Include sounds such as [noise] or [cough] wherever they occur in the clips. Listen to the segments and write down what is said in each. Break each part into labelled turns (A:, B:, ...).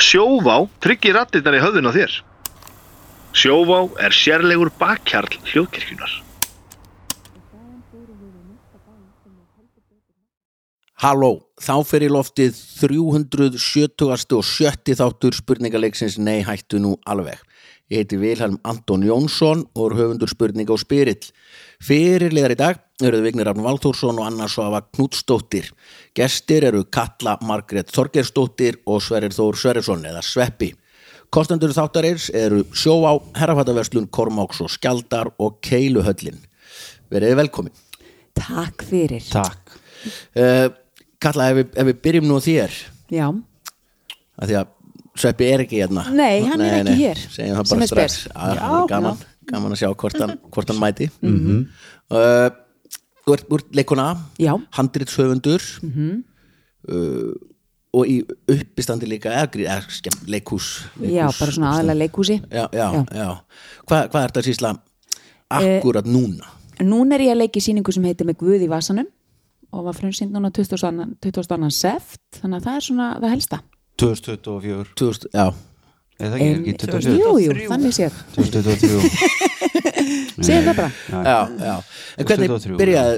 A: Sjóvá tryggir rattirnar í höfðun á þér. Sjóvá er sérlegur bakkjarl hljóðkirkjunar.
B: Halló, þá fer í loftið 370. og 70. þáttur spurningaleiksins Nei hættu nú alveg. Ég heiti Vilhelm Anton Jónsson og er höfundur spurninga og spyrill. Fyrirliðar í dag eruð Vignir Arn Valþórsson og Anna Svafa Knútsdóttir. Gestir eru Katla Margrét Þorgersdóttir og Sverrir Þór Sverrisson eða Sveppi. Kostendur þáttarins eru Sjóvá, Herrafataverslun, Kormáks og Skjaldar og Keiluhöllin. Verið velkomin.
C: Takk fyrir.
B: Takk uh, Kalla, ef, við- ef við byrjum nú á þér
C: Já.
B: að Því að Sveppi er ekki hérna
C: Nei, hann er ekki hér,
B: Segjum það
C: sem
B: bara
C: er
B: strax
C: spes.
B: að,
C: Já, Mhm.
B: já, gaman, gaman að sjá hvort hann, hvort hann
C: [laughs]
B: mæti mm -hmm. uh, Þú ert, þú ert leikuna
C: Já. Mhm.
B: Handritshöfundur -hmm. uh, Og í uppistandi líka eða, grí- eða skemmt, leikhús, leikhús
C: Já, bara svona aðalega leikhúsi.
B: Já, já, já.
C: Já. Eh,
B: Hvað, hvað er þetta að sýsla akkurat núna?
C: Núna er ég að leiki síningu sem heitir með Guð í vasanum og var frumsýnd núna 22. 22. seft þannig að það er svona það helsta.
D: 2024
B: 2000, já,
D: eða ekki,
C: En-
D: ekki
C: Jú,
D: 2023
C: jú, þannig séð. [laughs]
D: 2023
C: Segðu það bara.
B: já, já. En hvernig
D: 23,
B: byrjaði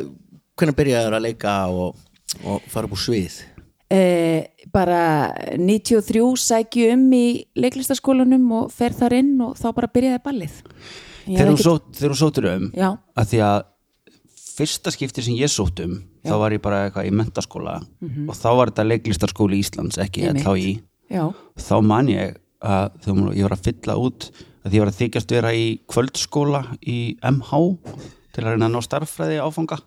B: hvernig byrjaði að leika og, og fara upp úr svið
C: Eh, bara 93 sæki um í leiklistaskólanum og fer þar inn og þá bara byrjaði ballið. Ég
D: þegar
C: hafði
D: hún sótt- þegar hún sóttur um
C: Já.
D: að því að fyrsta skipti sem ég sótt um þá var ég bara eitthvað í mentaskóla og þá var þetta leiklistarskóli Íslands ekki
C: Mhm. Einmitt.
D: þá í
C: Já,
D: þá man ég að þegar hún- ég var að fylla út að ég var að þykjast vera í kvöldskóla í MH til að reyna að ná starffræði áfanga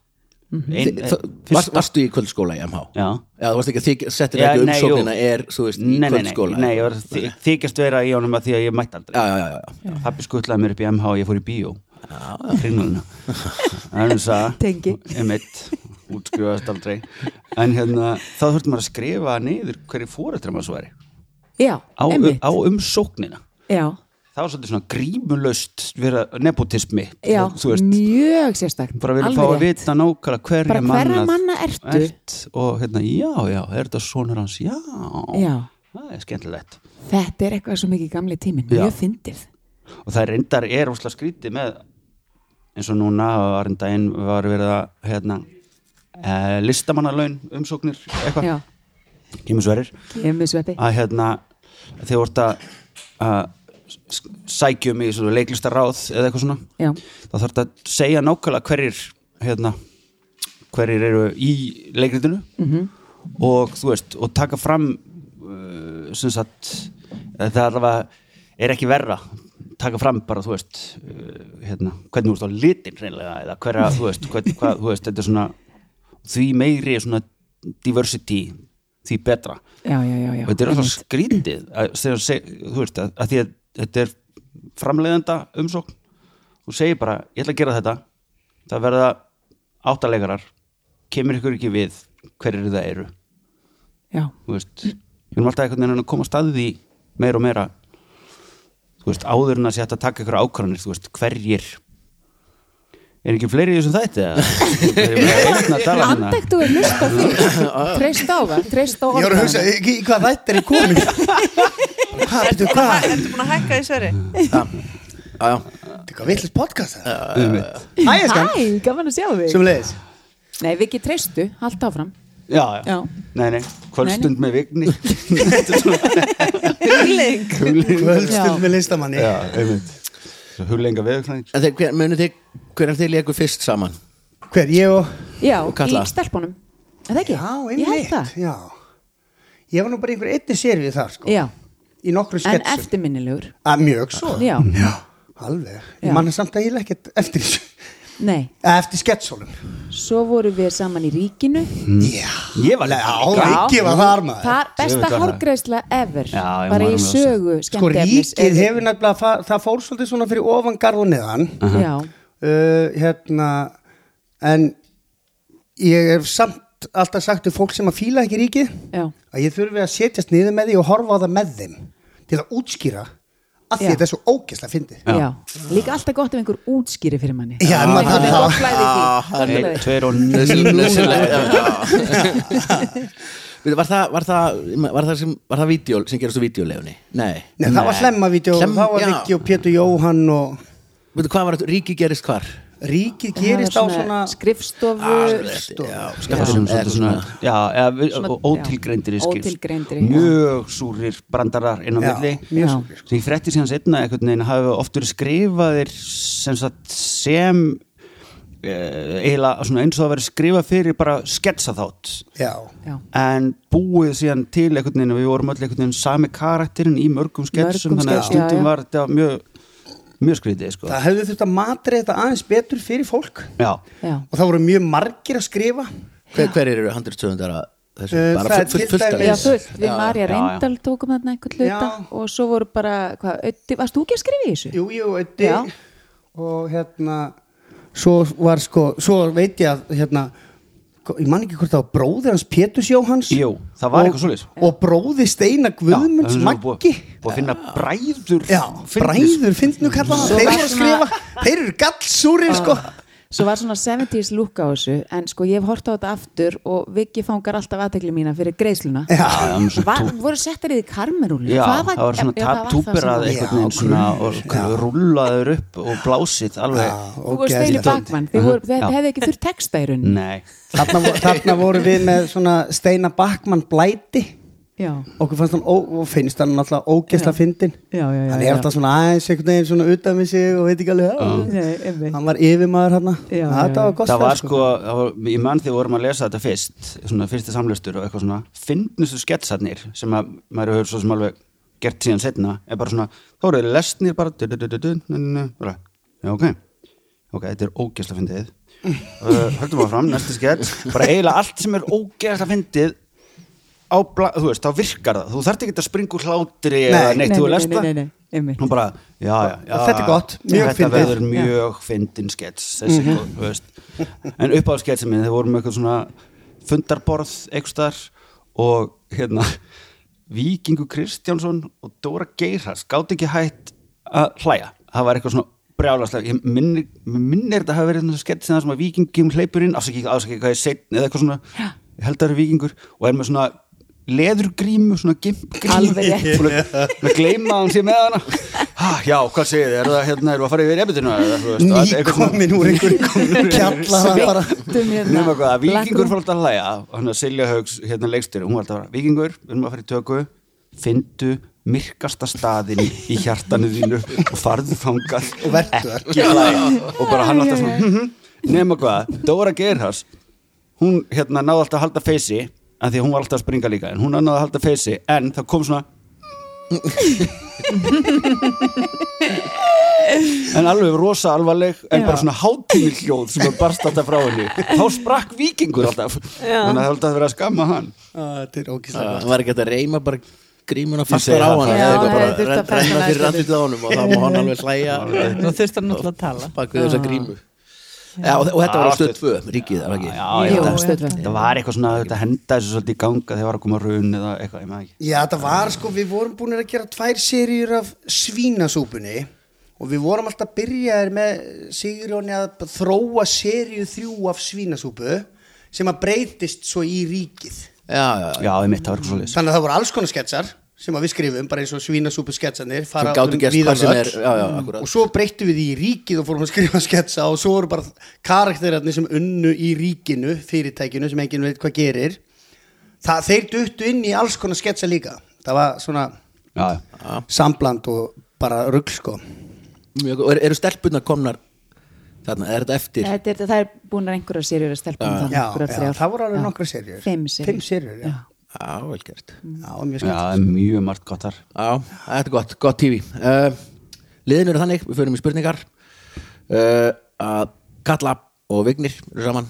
C: Mhm.
D: ein,
B: Þi- þa- varst, Varstu í kvöldskóla í MH?
D: Já.
B: Já, þú varst ekki að þykja, settir
D: Já,
B: ekki
D: nei,
B: umsóknina
D: jú.
B: er, þú veist, í
D: nei, nei, nei,
B: kvöldskóla
D: nei, ég var að þy- þykjast vera í honum að því að ég mætti aldrei
B: Já, já, já, já.
D: Pappi skuttlaði mér upp í MH og ég fór í bíó Kringluna Þannig að
C: Tengi.
D: Emitt, útskrifaðist aldrei En hérna, þá þurfti maður að skrifa niður hverju fóreldra maður svo væri
C: já,
D: á, um,
C: einmitt.
D: á umsóknina
C: Já,
D: Það var svolítið svona grímulaust vera nepotismi
C: já,
D: Þú veist,
C: mjög sérstakt.
D: bara vilja
C: Alveg
D: fá að
C: rétt.
D: vita nákvæmlega hverja
C: Bara hverra manna ertu?
D: Og hérna, já, já, er þetta sonur hans? Já,
C: Já.
D: það er skemmtilegt
C: Þetta er eitthvað svo mikið gamli tíminn,
D: Já.
C: mjög fyndið.
D: og það reyndar er ósla skrítið með eins og núna á arendaginn var verið að hérna, eh, listamannalaun umsóknir
C: Já,
D: eitthvað, kemur sverir
C: ég er mjög sveppi.
D: að hérna þegar voru að að s- sækja um í svona leiklistaráð eða eitthvað svona
C: Já.
D: þá þarf þetta að segja nákvæmlega hverjir hérna, hverjir eru í leikritinu -hmm. og þú veist, og taka fram uh, sem sagt eh, það er alveg, er ekki verra taka fram bara, þú veist uh, hérna, hvernig þú veist á litin reynilega eða hverja, þú veist, hvernig, hvað, þú veist þetta er svona, því meiri svona diversity, því betra
C: Já, já, já, já.
D: og þetta er alltaf
C: Einmitt.
D: skrítið að, þegar, seg- þú veist, að, að því að þetta er framleiðenda umsókn og segir bara, ég ætla að gera þetta það verða áttalegarar kemur ykkur ekki við hverjir það eru
C: Já,
D: þú veist, við erum alltaf einhvern veginn að koma að staðið í meira og meira þú veist, áður en að sé hægt að taka ykkur ákvarðanir, þú veist, hverjir er ekki fleiri í þessum þætti
C: [laughs]
D: eða? Það er bara einn að tala hérna.
C: andæktu er hlusta
D: [laughs]
C: fyrir. Treyst á það, treyst á
E: Ég var að
C: orðaðina.
E: hugsa, í- í hvað rætt er ég
B: [laughs]
E: komin? Hvað, betur hvað?
F: Ertu búin að hækka í sverri?
B: Já, já.
E: Þetta er hvað vitlis podcast það?
D: Einmitt.
E: Æ, ég skan,
C: Hæ, gaman að sjá þig.
E: sem leiðis
C: Nei, við ekki treystu, haldt áfram.
D: já, já,
C: Já.
D: nei, nei, kvöldstund með vigni
C: [laughs]
D: þetta er svona
F: Hugling
E: Kvöldstund með listamanni
D: Já, einmitt Svo huglenga veðurklæðing
B: En þeir, hver, munið þið, hver er þið leiku fyrst saman?
E: Hver, ég og
C: Já,
B: Og kalla.
C: í stelpunum. Er það ekki?
E: Já,
C: Ég held
E: einmitt,
C: það.
E: já Ég var nú bara í einhver einni serið þar, sko
C: Já,
E: Í nokkru
C: en
E: sketsum
C: eftirminnilegur.
E: Að Ah, mjög svo
C: Já.
E: [laughs] Alveg,
C: Já.
E: ég manna samt að ég lekkit eftir þessu
C: Nei,
E: Eða Eftir sketsólum
C: svo voru við saman í ríkinu.
E: Já,
D: Ég var
E: alveg,
D: leika
E: á ekki var þar maður
C: Það besta
D: Djöfull var það.
C: hárgreisla ever.
D: Já, ég man
C: Bara í
D: alveg þessu.
C: sögu
E: Sko,
C: skemmtefnis.
E: ríkið hefur nefnilega, það, það fór svolítið svona fyrir ofan garð og neðan
C: Já,
E: uh, hérna en ég hef samt alltaf sagt til fólk sem að fíla ekki ríkið
C: já,
E: að ég þurfi að setjast niður með því og horfa á það með þeim til að útskýra að því
C: Já.
E: þetta er svo ógeðslega fyndið
C: já. Líka alltaf gott ef einhver útskýri fyrir manni.
E: Já, en maður þarf
F: Gott
E: það
F: flæði í því
B: Ah,
D: Einn,
B: það er
D: tveir og
B: Þessi-
D: níu
B: þessi- já, já. Veitu, var það var það, var það, sem, var það vídeó, sem gerast á vídeolegunni? Nei.
E: Nei, það var hlemmavídeó,
B: Hlemm-
E: það var
B: já.
E: Rikki og Pétur Jóhann og
B: Veitu, hvað var þetta? Ríki gerist hvar?
G: Það
E: Ríkið
G: var
E: gerist á svona Ah,
G: skrifstofu
B: Já,
D: Já,
B: skattum
D: svona- svona, já, eða við-
G: Svona-
D: ótilgreindir í
G: já,
D: skýrst
G: ótilgreindir, já.
D: mjög súrir brandarar inn á
E: Já,
D: milli
E: mjög
G: Já.
E: súrir,
D: því fréttir síðan setna einhvern veginn hafa oft verið skrifaðir sem sagt sem eh, eiginlega svona eins og það verið skrifað fyrir bara sketsa þátt
E: Já,
G: Já.
D: en búið síðan til einhvern veginn og við vorum öll einhvern veginn sami karakterinn í mörgum sketsum
G: Mörgum
D: þannig að
G: sketsum, já,
D: stundum
G: já.
D: var þetta mjög, mjög skrítið sko.
E: það hefðu þurft að matri þetta aðeins betur fyrir fólk
D: já,
G: Já.
E: og það voru mjög margir að skrifa
B: Hver, hver eru handriðstöfundar að þessu?
E: Eh,
B: Bara
E: það
B: full-
E: er
B: full-
E: til
B: fullt af
E: dæmis-
G: Já,
B: þessu.
G: fullt, við Marja
D: já.
G: Reyndal tókum þarna einhvern hluta
E: Já.
G: og svo voru bara, hvað, Öddi, varst þú ekki að skrifa í þessu?
E: Jú, jú, Öddi
G: Já.
E: og hérna svo var sko, svo veit ég að hérna, ég man ekki hvort það var bróðir hans Péturs Jóhanns
D: Jú, það var
E: og-
D: eitthvað svoleiðis.
E: og bróði Steina
D: Já, það er
E: Guðmunds
D: svona
E: Maggi
D: búið, búið að finna bræður
E: Já,
D: fyndnir,
E: bræður finnnu kalla það,
G: Svo
E: þeir
G: var
E: voru að
G: svona-
E: skrifa þeir eru gallsúrir sko
G: [laughs] Svo var svona 70s look á þessu en sko ég hef hort á þetta aftur og Viki fangar alltaf aðtekli mína fyrir greiðsluna
E: Já,
D: já, með svona
G: Var,
D: tú-
G: voru settar í því karmerúli
D: Já, það var svona taptúperað einhvern veginn svona og rúlaður upp og blásið alveg
G: Þú voru steinu bakmann, þið voru- þetta
D: Já.
G: hefði ekki þurft texta í rauninni
D: Nei,
E: Þarna, vo- þarna
G: [laughs]
E: voru við með svona Steina Bakmann blæti
G: Já,
E: okkur fannst hann, ó, og finnst hann alltaf ógeðsla fyndin
G: já, já, já,
E: hann
G: já.
E: er alltaf svona aðeins einhvern veginn svona utan við sig og veit ekki alveg uh.
G: Nei, einmitt.
E: hann var yfirmaður hann
G: Já, já,
E: þetta var gott
D: það var sko, það var, ég mann þegar við vorum að lesa þetta fyrst, svona fyrsti samlöstur og eitthvað svona, finnustu sketsarnir sem að maður hefur svo sem alveg gert síðan setna, er bara svona, þá eru þeir lesnir bara, du, du, du, du, du, nu, nu, nu, bara, já ok, ok, þetta er ógeðsla fyndið, uh, höldum að fram, næsti skets, bara eiginlega allt sem er ógeðsla fyndið, á bla, þú veist, þá virkar það, þú þarft ekki að springa úr hlátri eða
E: Nei.
D: neitt,
G: Nei,
D: þú
G: nei,
D: lest
G: nei,
D: það
G: nei, nei, einmitt.
D: og bara, já, já, já
E: Þetta er gott, mjög
D: þetta
E: fyndið.
D: verður mjög fyndin skets þessi,
G: Mhm.
D: mm þú veist en upp á sketsið minn, þeir vorum eitthvað svona fundarborð eitthvað þar og hérna Víkingu Kristjánsson og Dóra Geirhars gátt ekki hætt að hlæja það var eitthvað svona brjálaslega ég minnir, minnir þetta hafa verið svona skets sem það sem að Víkingum hleypur inn ásaki, ásaki hvað ég seitt eða eitthvað svona ég held að það eru Víkingur og er með svona leðurgrímu, svona gimpgrímu
G: Alveg rétt.
D: [laughs] með gleyma að hann sé með hana ha, já, hvað segir þið, eru það hérna eru að fara yfir ebitinu
E: nýkomin úr
D: [laughs]
E: einhverjum kjalla það bara
G: Sveitum hérna.
D: nema hvað, að
G: Black
D: vikingur
G: Room.
D: fór alltaf að hlæja hann að Silja Haugs, hérna leikstur hún var alltaf að vera, vikingur, við erum að fara í tökku fyndu myrkasta staðin í hjartanu þínu og farðu þangað
E: Og
B: [laughs]
E: vertu þar.
D: ekki hlæja og bara hann alltaf svona "Hm, hm." nema hvað, Dóra Geirhars hún hérna náði alltaf að halda feysi af því að hún var alltaf að springa líka en hún náði að halda feysi en það kom svona "Hm." en alveg rosa alvarleg en bara svona hátími hljóð sem var barst alltaf frá henni þá sprakk vikingur alltaf þannig að það held að vera að skamma hann
E: Á, Ah, þetta er ógeðslega
B: Það var ekki hægt að reyma bara grímuna
D: segi
B: fastar á
D: það,
B: hann
D: það-
B: eða
H: Já,
B: eitthvað
H: það
B: bara
H: hefði þurft að
B: renn-
H: festa
B: renna
H: hann
B: fyrir
H: aðeins
B: randið á honum og það má hann alveg hlæja
H: Nú þurfti hann náttúrulega að tala
B: bak við þessa grímu Já, og, og þetta var á stöð 2, ríkið það var ekki
D: já,
G: Jú,
D: já,
G: Stöð tvö.
D: það var eitthvað svona þetta henda þessu svolítið í ganga þegar var að koma run eða eitthvað, ég maður ekki
E: Já, það var sko, við vorum búin að gera tvær seríur af svínasúpunni og við vorum alltaf byrjaðir með Sigurjóni að þróa seríu þrjú af svínasúpu sem að breytist svo í ríkið
B: Já, já, já
D: já, ég mitt, það var eitthvað svolítið
E: Þannig að það voru alls konar sketsar sem að við skrifum, bara eins og svínasúpu sketsanir
B: Sem gátu gerst hvað sem er, já, já, akkurat.
E: og svo breyttu við því í ríkið og fórum að skrifa sketsa og svo voru bara karakterarnir sem unnu í ríkinu, fyrirtækinu sem enginn veit hvað gerir það, þeir duttu inn í alls konar sketsa líka það var svona
D: já, já.
E: sambland og bara rugl sko
B: Mjög, góð. og er, eru stelpunna komnar þarna, er þetta eftir
G: Þetta er- Það er búin að einhverja sérjur að stelpa um
E: já,
G: það
E: já, það voru alveg nokkra serjur
G: Fimm seríur.
E: Fimm seríur, já.
B: Já, vel gert
E: Já,
D: Já,
E: mjög skemmt
D: það er mjög margt gott þar
B: Já, þetta er gott, gott tífi uh, Liðin eru þannig, við förum í spurningar uh, að Katla og Vignir eru saman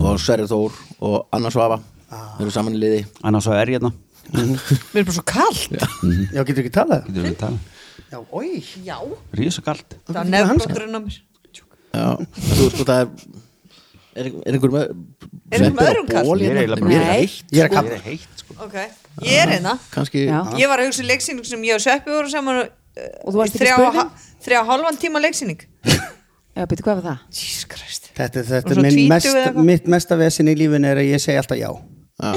B: og Sverri Þór og Anna Svafa eru saman í liði
D: Annars svo er ég hérna
H: Mér er bara svo kallt
E: [laughs] Já, getur ekki talað?
D: Getur við að tala
E: Já, oi
H: Já
D: Rísa kalt
H: Það er nefnbroturinn á mér
B: Já, þú sko það er er, er einhver með
H: Er einhver með öðrum kall?
B: Ég er eiginlega bara
G: Nei.
B: Mér er heitt,
E: Ég er að kalla
D: er heitt sko
H: Ok, ég er hérna
B: kannski
G: Já.
H: Ég var að hugsa um leiksýning sem ég og Sveppi voru saman uh,
G: Og þú varst ekki spurðin?
H: Þrjá hálfan tíma leiksýning
G: Já, byrju, hvað var það?
H: Jesus Christ
E: Þetta,
H: Og
E: þetta
H: svo
E: er minn
H: tvítug
E: mest,
H: eða eitthvað?
E: mitt mesta vesin í lífinu er að ég segi alltaf já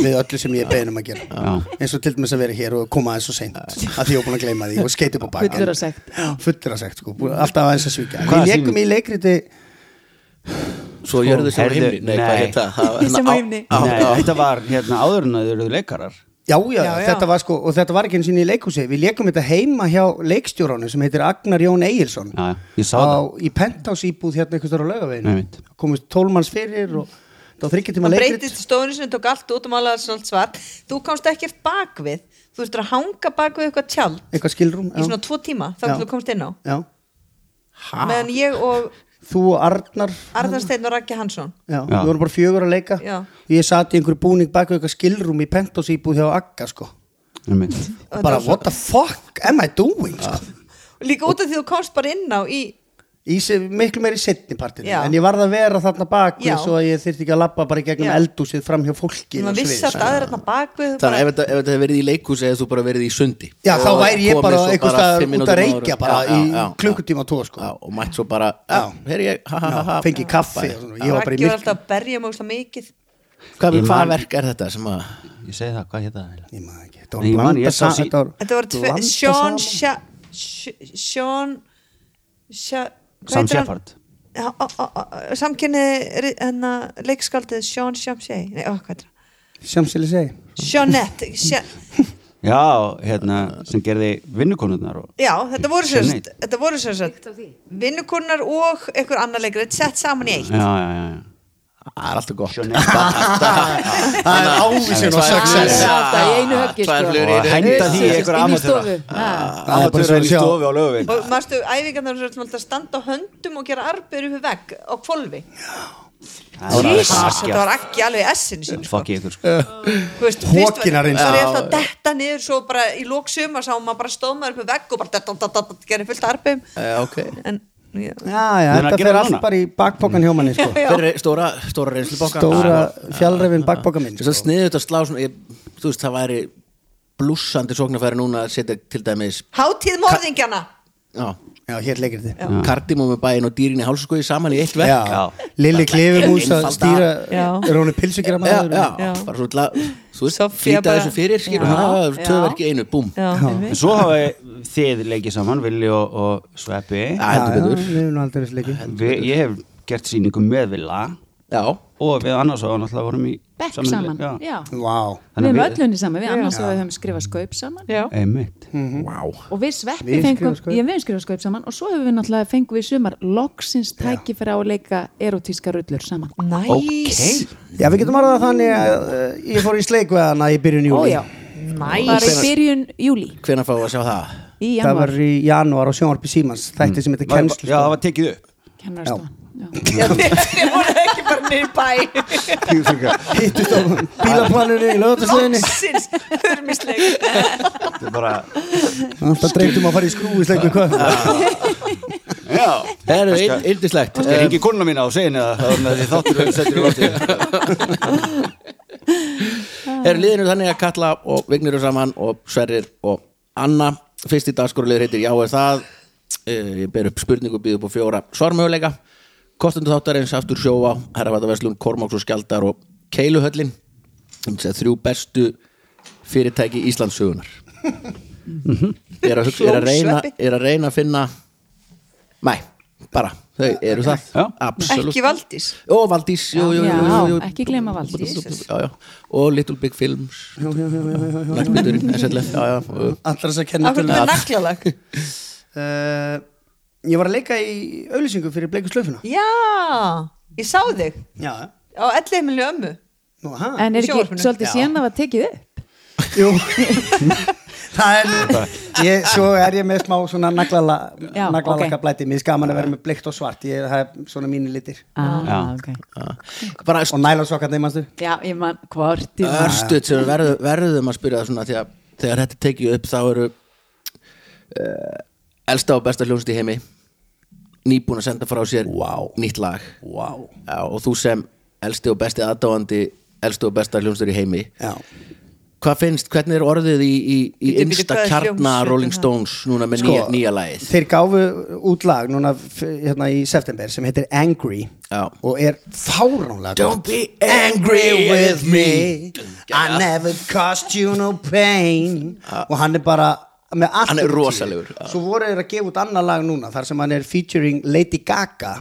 E: við öllu sem ég beðin um að gera eins og til dæmis að vera hér og koma aðeins og seint að því ég er búin að gleyma því og skeiti upp á bak
G: Fullur af sekt.
E: fullur að segt sko, búin- alltaf aðeins að svíkja
D: Hvaða
E: við leikum í leikriti
B: Svo jörðu sem á
D: Heyrðu,
B: himni Nei,
D: Sko, nei.
B: hvað heit það? það? var-
G: Sem á himni.
B: Á-
D: Nei,
B: á-
D: þetta var hérna áður en að þau eru leikarar
E: Já, já,
H: Já, já.
E: þetta var sko, og þetta var ekki eins og í leikhúsi Við leikum þetta heima hjá leikstjóránu sem heitir Agnar Jón Egilson
D: Já, já, ég sá
E: á,
D: það.
E: Í pentás íbúð hérna einhvers þar á laugaveginu
D: Einmitt.
E: Komist tólmanns fyrir og það var þryggja tíma
H: Það
E: leikrit
H: breytist í stofunni sem tók allt út og málaði allt svart Þú komst ekkert bakvið Þú þurftur að hanga bakvið eitthvað tjald
E: Eitthvað skilrúm
H: Í svona tvo tíma þá
E: Já.
H: getur þú komst inn á
E: Já,
H: Meðan ég og
E: þú og Arnar
H: Arðar Steinn og Raggi Hansson
E: Já,
D: Já.
E: við vorum bara fjögur að leika
H: Já.
E: Ég sat í einhverju búning bak við eitthvað skilrúm í pentás íbúð hjá Agga sko
D: Einmitt.
H: Og þetta
E: Bara
H: var svo-
E: what the fuck am I doing sko
H: Líka út af því þú komst bara inn á í
E: Í se, miklu meiri setni partinu
H: Já.
E: en ég varð að vera þarna bak
H: Já.
E: við svo að ég þyrfti ekki að labba bara í gegnum
H: Já.
E: eldúsið fram hjá fólki
H: Maður vissi allt aðra þarna bakvið þú
B: Þannig að ef
H: bara-
B: þetta, ef þetta hefði verið í leikhúsi eða þú bara verið í sundi
E: Já, þá
B: Og
E: væri ég
B: komið
E: bara
B: svo
E: einhvers staðar
B: fimm
E: út
B: mínútum
E: að
B: áður.
E: reykja bara
B: Já, já,
E: í
B: já,
E: klukkutíma og tvo sko
B: já, og mætt svo bara
E: Já.
B: hér ég, ha, ha, ha, ha,
E: fengi kaffi og svona, ég var bara í
H: Raggi var
E: miklu
H: alltaf að berja mjög mikið
B: hvað,
D: Ég
B: hvað
D: man-
B: verk er þetta sem að
D: Ég segi það, hvað hérna
E: Ég maður ekki, þetta
D: Ég
E: var
D: man, ég
E: blanda
D: sá
E: sa-
D: sí-
E: þetta var
H: Þetta voru tve,
E: blanda
H: Sean
E: saman.
H: Sha- Sh- Sean Sha- hvað
D: Sam
H: heitir hann?
D: Shepard.
H: Já, á- á- á- Samkynni hennar leikskaldið hérna, Sean Shamsey Nei, ó, hvað heitir hann?
E: Sjámsili segi
H: Seanette Sha-
D: Já, hérna, sem gerði vinnukonurnar og
H: Já, þetta voru sérst
D: Jeanette.
H: Þetta voru sérst Vinnukunnar og einhver annar leikrið sett saman í eitt
D: Já, já, já, já.
B: það er alltaf gott
E: [laughs] Það er ávísin og success
G: Já, alltaf í einu höggi,
B: Tvær
G: sko.
B: flugur í einu
D: Og henda því í einhverja
G: Inn í
D: amatöra.
G: stofu. Ha.
E: Það er bara svo
D: Amatörinn
E: að
D: í
E: sjá.
D: stofu á lögvinn
H: Og marstu æfingarnar sem alltaf standa á höndum og gera arbeiru upp við vegg og kvolfi Jesus, þetta var ekki alveg í essinu sín sko.
D: Fuck ég ykkur sko
H: Þú veist,
E: Hokina
H: fyrst
E: reynsla.
H: var ég alltaf að detta niður svo bara í lók suma sá maður bara stóð maður upp með vegg og bara detta, detta, detta, gerir fullt arbeim
B: Eh, ok.
H: en já,
E: Já, já,
D: Nei, að gera
E: þetta fer
D: það
E: allt
D: núna.
E: bara í bakpokan hjá manni sko
B: Hver er stóra, stóra reynslu bóka
E: Stóra fjallrefin bakpoka minn
B: Þess að
E: sko.
B: sniðu þetta slá svona, ég, þú veist, það væri blússandi sóknarfæri núna að setja til dæmis
H: hátíð morðingjana
B: já,
E: Já, hér leikir þið
B: kardimómi bæin og dýrin í hálsskoði saman í eitt
E: Já,
B: verk
D: Já.
E: Lilli Klefumús að
B: Einfalda.
E: stýra
H: Já.
E: Er hún
B: já,
E: pilsugjara maður
B: já,
H: Já.
B: bara svona la, þú veist,
H: Soffía
B: flýta
H: bara-
B: þessu fyrir skilur,
H: Já.
B: það er
H: Já.
B: töðverki einu, búm
H: já,
D: En svo hafa þið leikið saman, Vili og, og Sveppi
B: Já, heldur
E: já,
B: betur
E: við erum nú aldrei þessi leiki
D: Vi, Ég hef gert sýningu með Vila
B: Já,
D: Og við annars og náttúrulega vorum í
C: Bekk
D: sameiginlega-
C: saman, já.
E: Vá,
C: Við
D: Þannig
C: erum
D: að
C: öll unni saman, við annars og við höfum skrifað skaup saman
H: já.
D: Einmitt
C: og við sveppi
E: Við
C: fengum,
E: skrifað Skaup.
C: ég við höfum skrifað skaup saman og svo höfum við náttúrulega fengum við sumar loksins tækifæri á að leika erotíska rullur saman.
H: næs
E: Já, við getum orðað það þannig að uh, ég fór í sleik við hana í
C: Ó
E: byrjun júli
C: já, bara í
H: næs
C: byrjun júli,
B: hvenær fáum við að sjá það?
C: í
E: Það var
C: janúar,
E: í janúar á sjónvarpi Símans Þætti sem heitir
D: Var-
E: Kemslu
D: Já, það var tekið upp
C: kennarastofan. Já.
H: [laughs] ég voru ekki bara niður í bæ
E: hittist á bílaplaninu í lögatarsleginni
H: loksins hurmisleik
D: Þetta er bara
E: Alltaf dreymtum að fara í skrúisleik við hvað
D: Já
B: Það eru Eh, yndislegt
D: Ég ringi konuna mína og segi henni að það er þáttur við setjum í lofti
B: Er liðinu þannig að Katla og Vignir eru saman og Sverrir og Anna Fyrst í dagskorulegur heitir Já er það Eh, Ég ber upp spurningu og býð upp á fjóra svarmöguleika Kostendur þáttarins aftur sjóa Herrafataverslun, Kormáks og Skjaldar og Keiluhöllin Þannig að þrjú bestu fyrirtæki Íslandsugunar Ég er að, hugsa- ég er að reyna Ég er að reyna að finna Nei, bara, þau eru það
D: Já.
B: Absolutt
H: ekki valdís
B: og Valdís jú, jú, jú,
C: Já,
B: jú, jú.
C: ekki gleyma Valdís.
B: já, já. og Little Big Films Nagnbyturinn
E: Allra þess að kenna
H: af hverju
E: uh,
H: með naklalag
E: Eh, Ég var að leika í auðlýsingu fyrir bleiku slöfuna
H: já, ég sá þig
E: Já,
H: á elli heimilu ömmu
E: nú, ha?
C: En er ekki
H: Sjónvarpinu.
C: svolítið
E: Já.
C: síðan það var tekið upp?
E: [laughs] Jú Það er nú ég, Svo er ég með smá svona
C: Já,
E: naglalaka
C: ok.
E: blæti Mér er gaman að vera með bleikt og svart Ég það er svona mínu litir
C: Já,
D: Já.
C: ok.
B: bara
E: Og nælansokkarni, manstu?
C: Já, ég man, hvort
B: Eh,
C: í maður.
B: örstuð sem við verðum, verðum að spyrja það svona því að þegar þetta tekið upp þá eru uh, elsta og besta hljónst í heimi nýbúin að senda frá sér wow. nýtt lag wow. já, og þú sem elsti og besti aðdáandi elsti og besta hljónstur í heimi
E: Já
B: Hvað finnst, hvernig er orðið í, í, í
H: Bíddu, bíddu,
B: innsta
H: hvað er
B: kjarna
H: hljómsveitin
B: Rolling
H: það?
B: Stones núna með nýja, nýja lagið?
E: Sko, þeir gáfu út lag núna f- hérna í september sem heitir Angry
B: Já.
E: og er fáránlega
B: Don't
E: gott.
B: be angry with me
E: I never caused you no pain og hann er bara með allt
B: Hann er
E: upp á tíu.
B: rosalegur, já.
E: svo voru þeir að gefa út annað lag núna þar sem hann er featuring Lady Gaga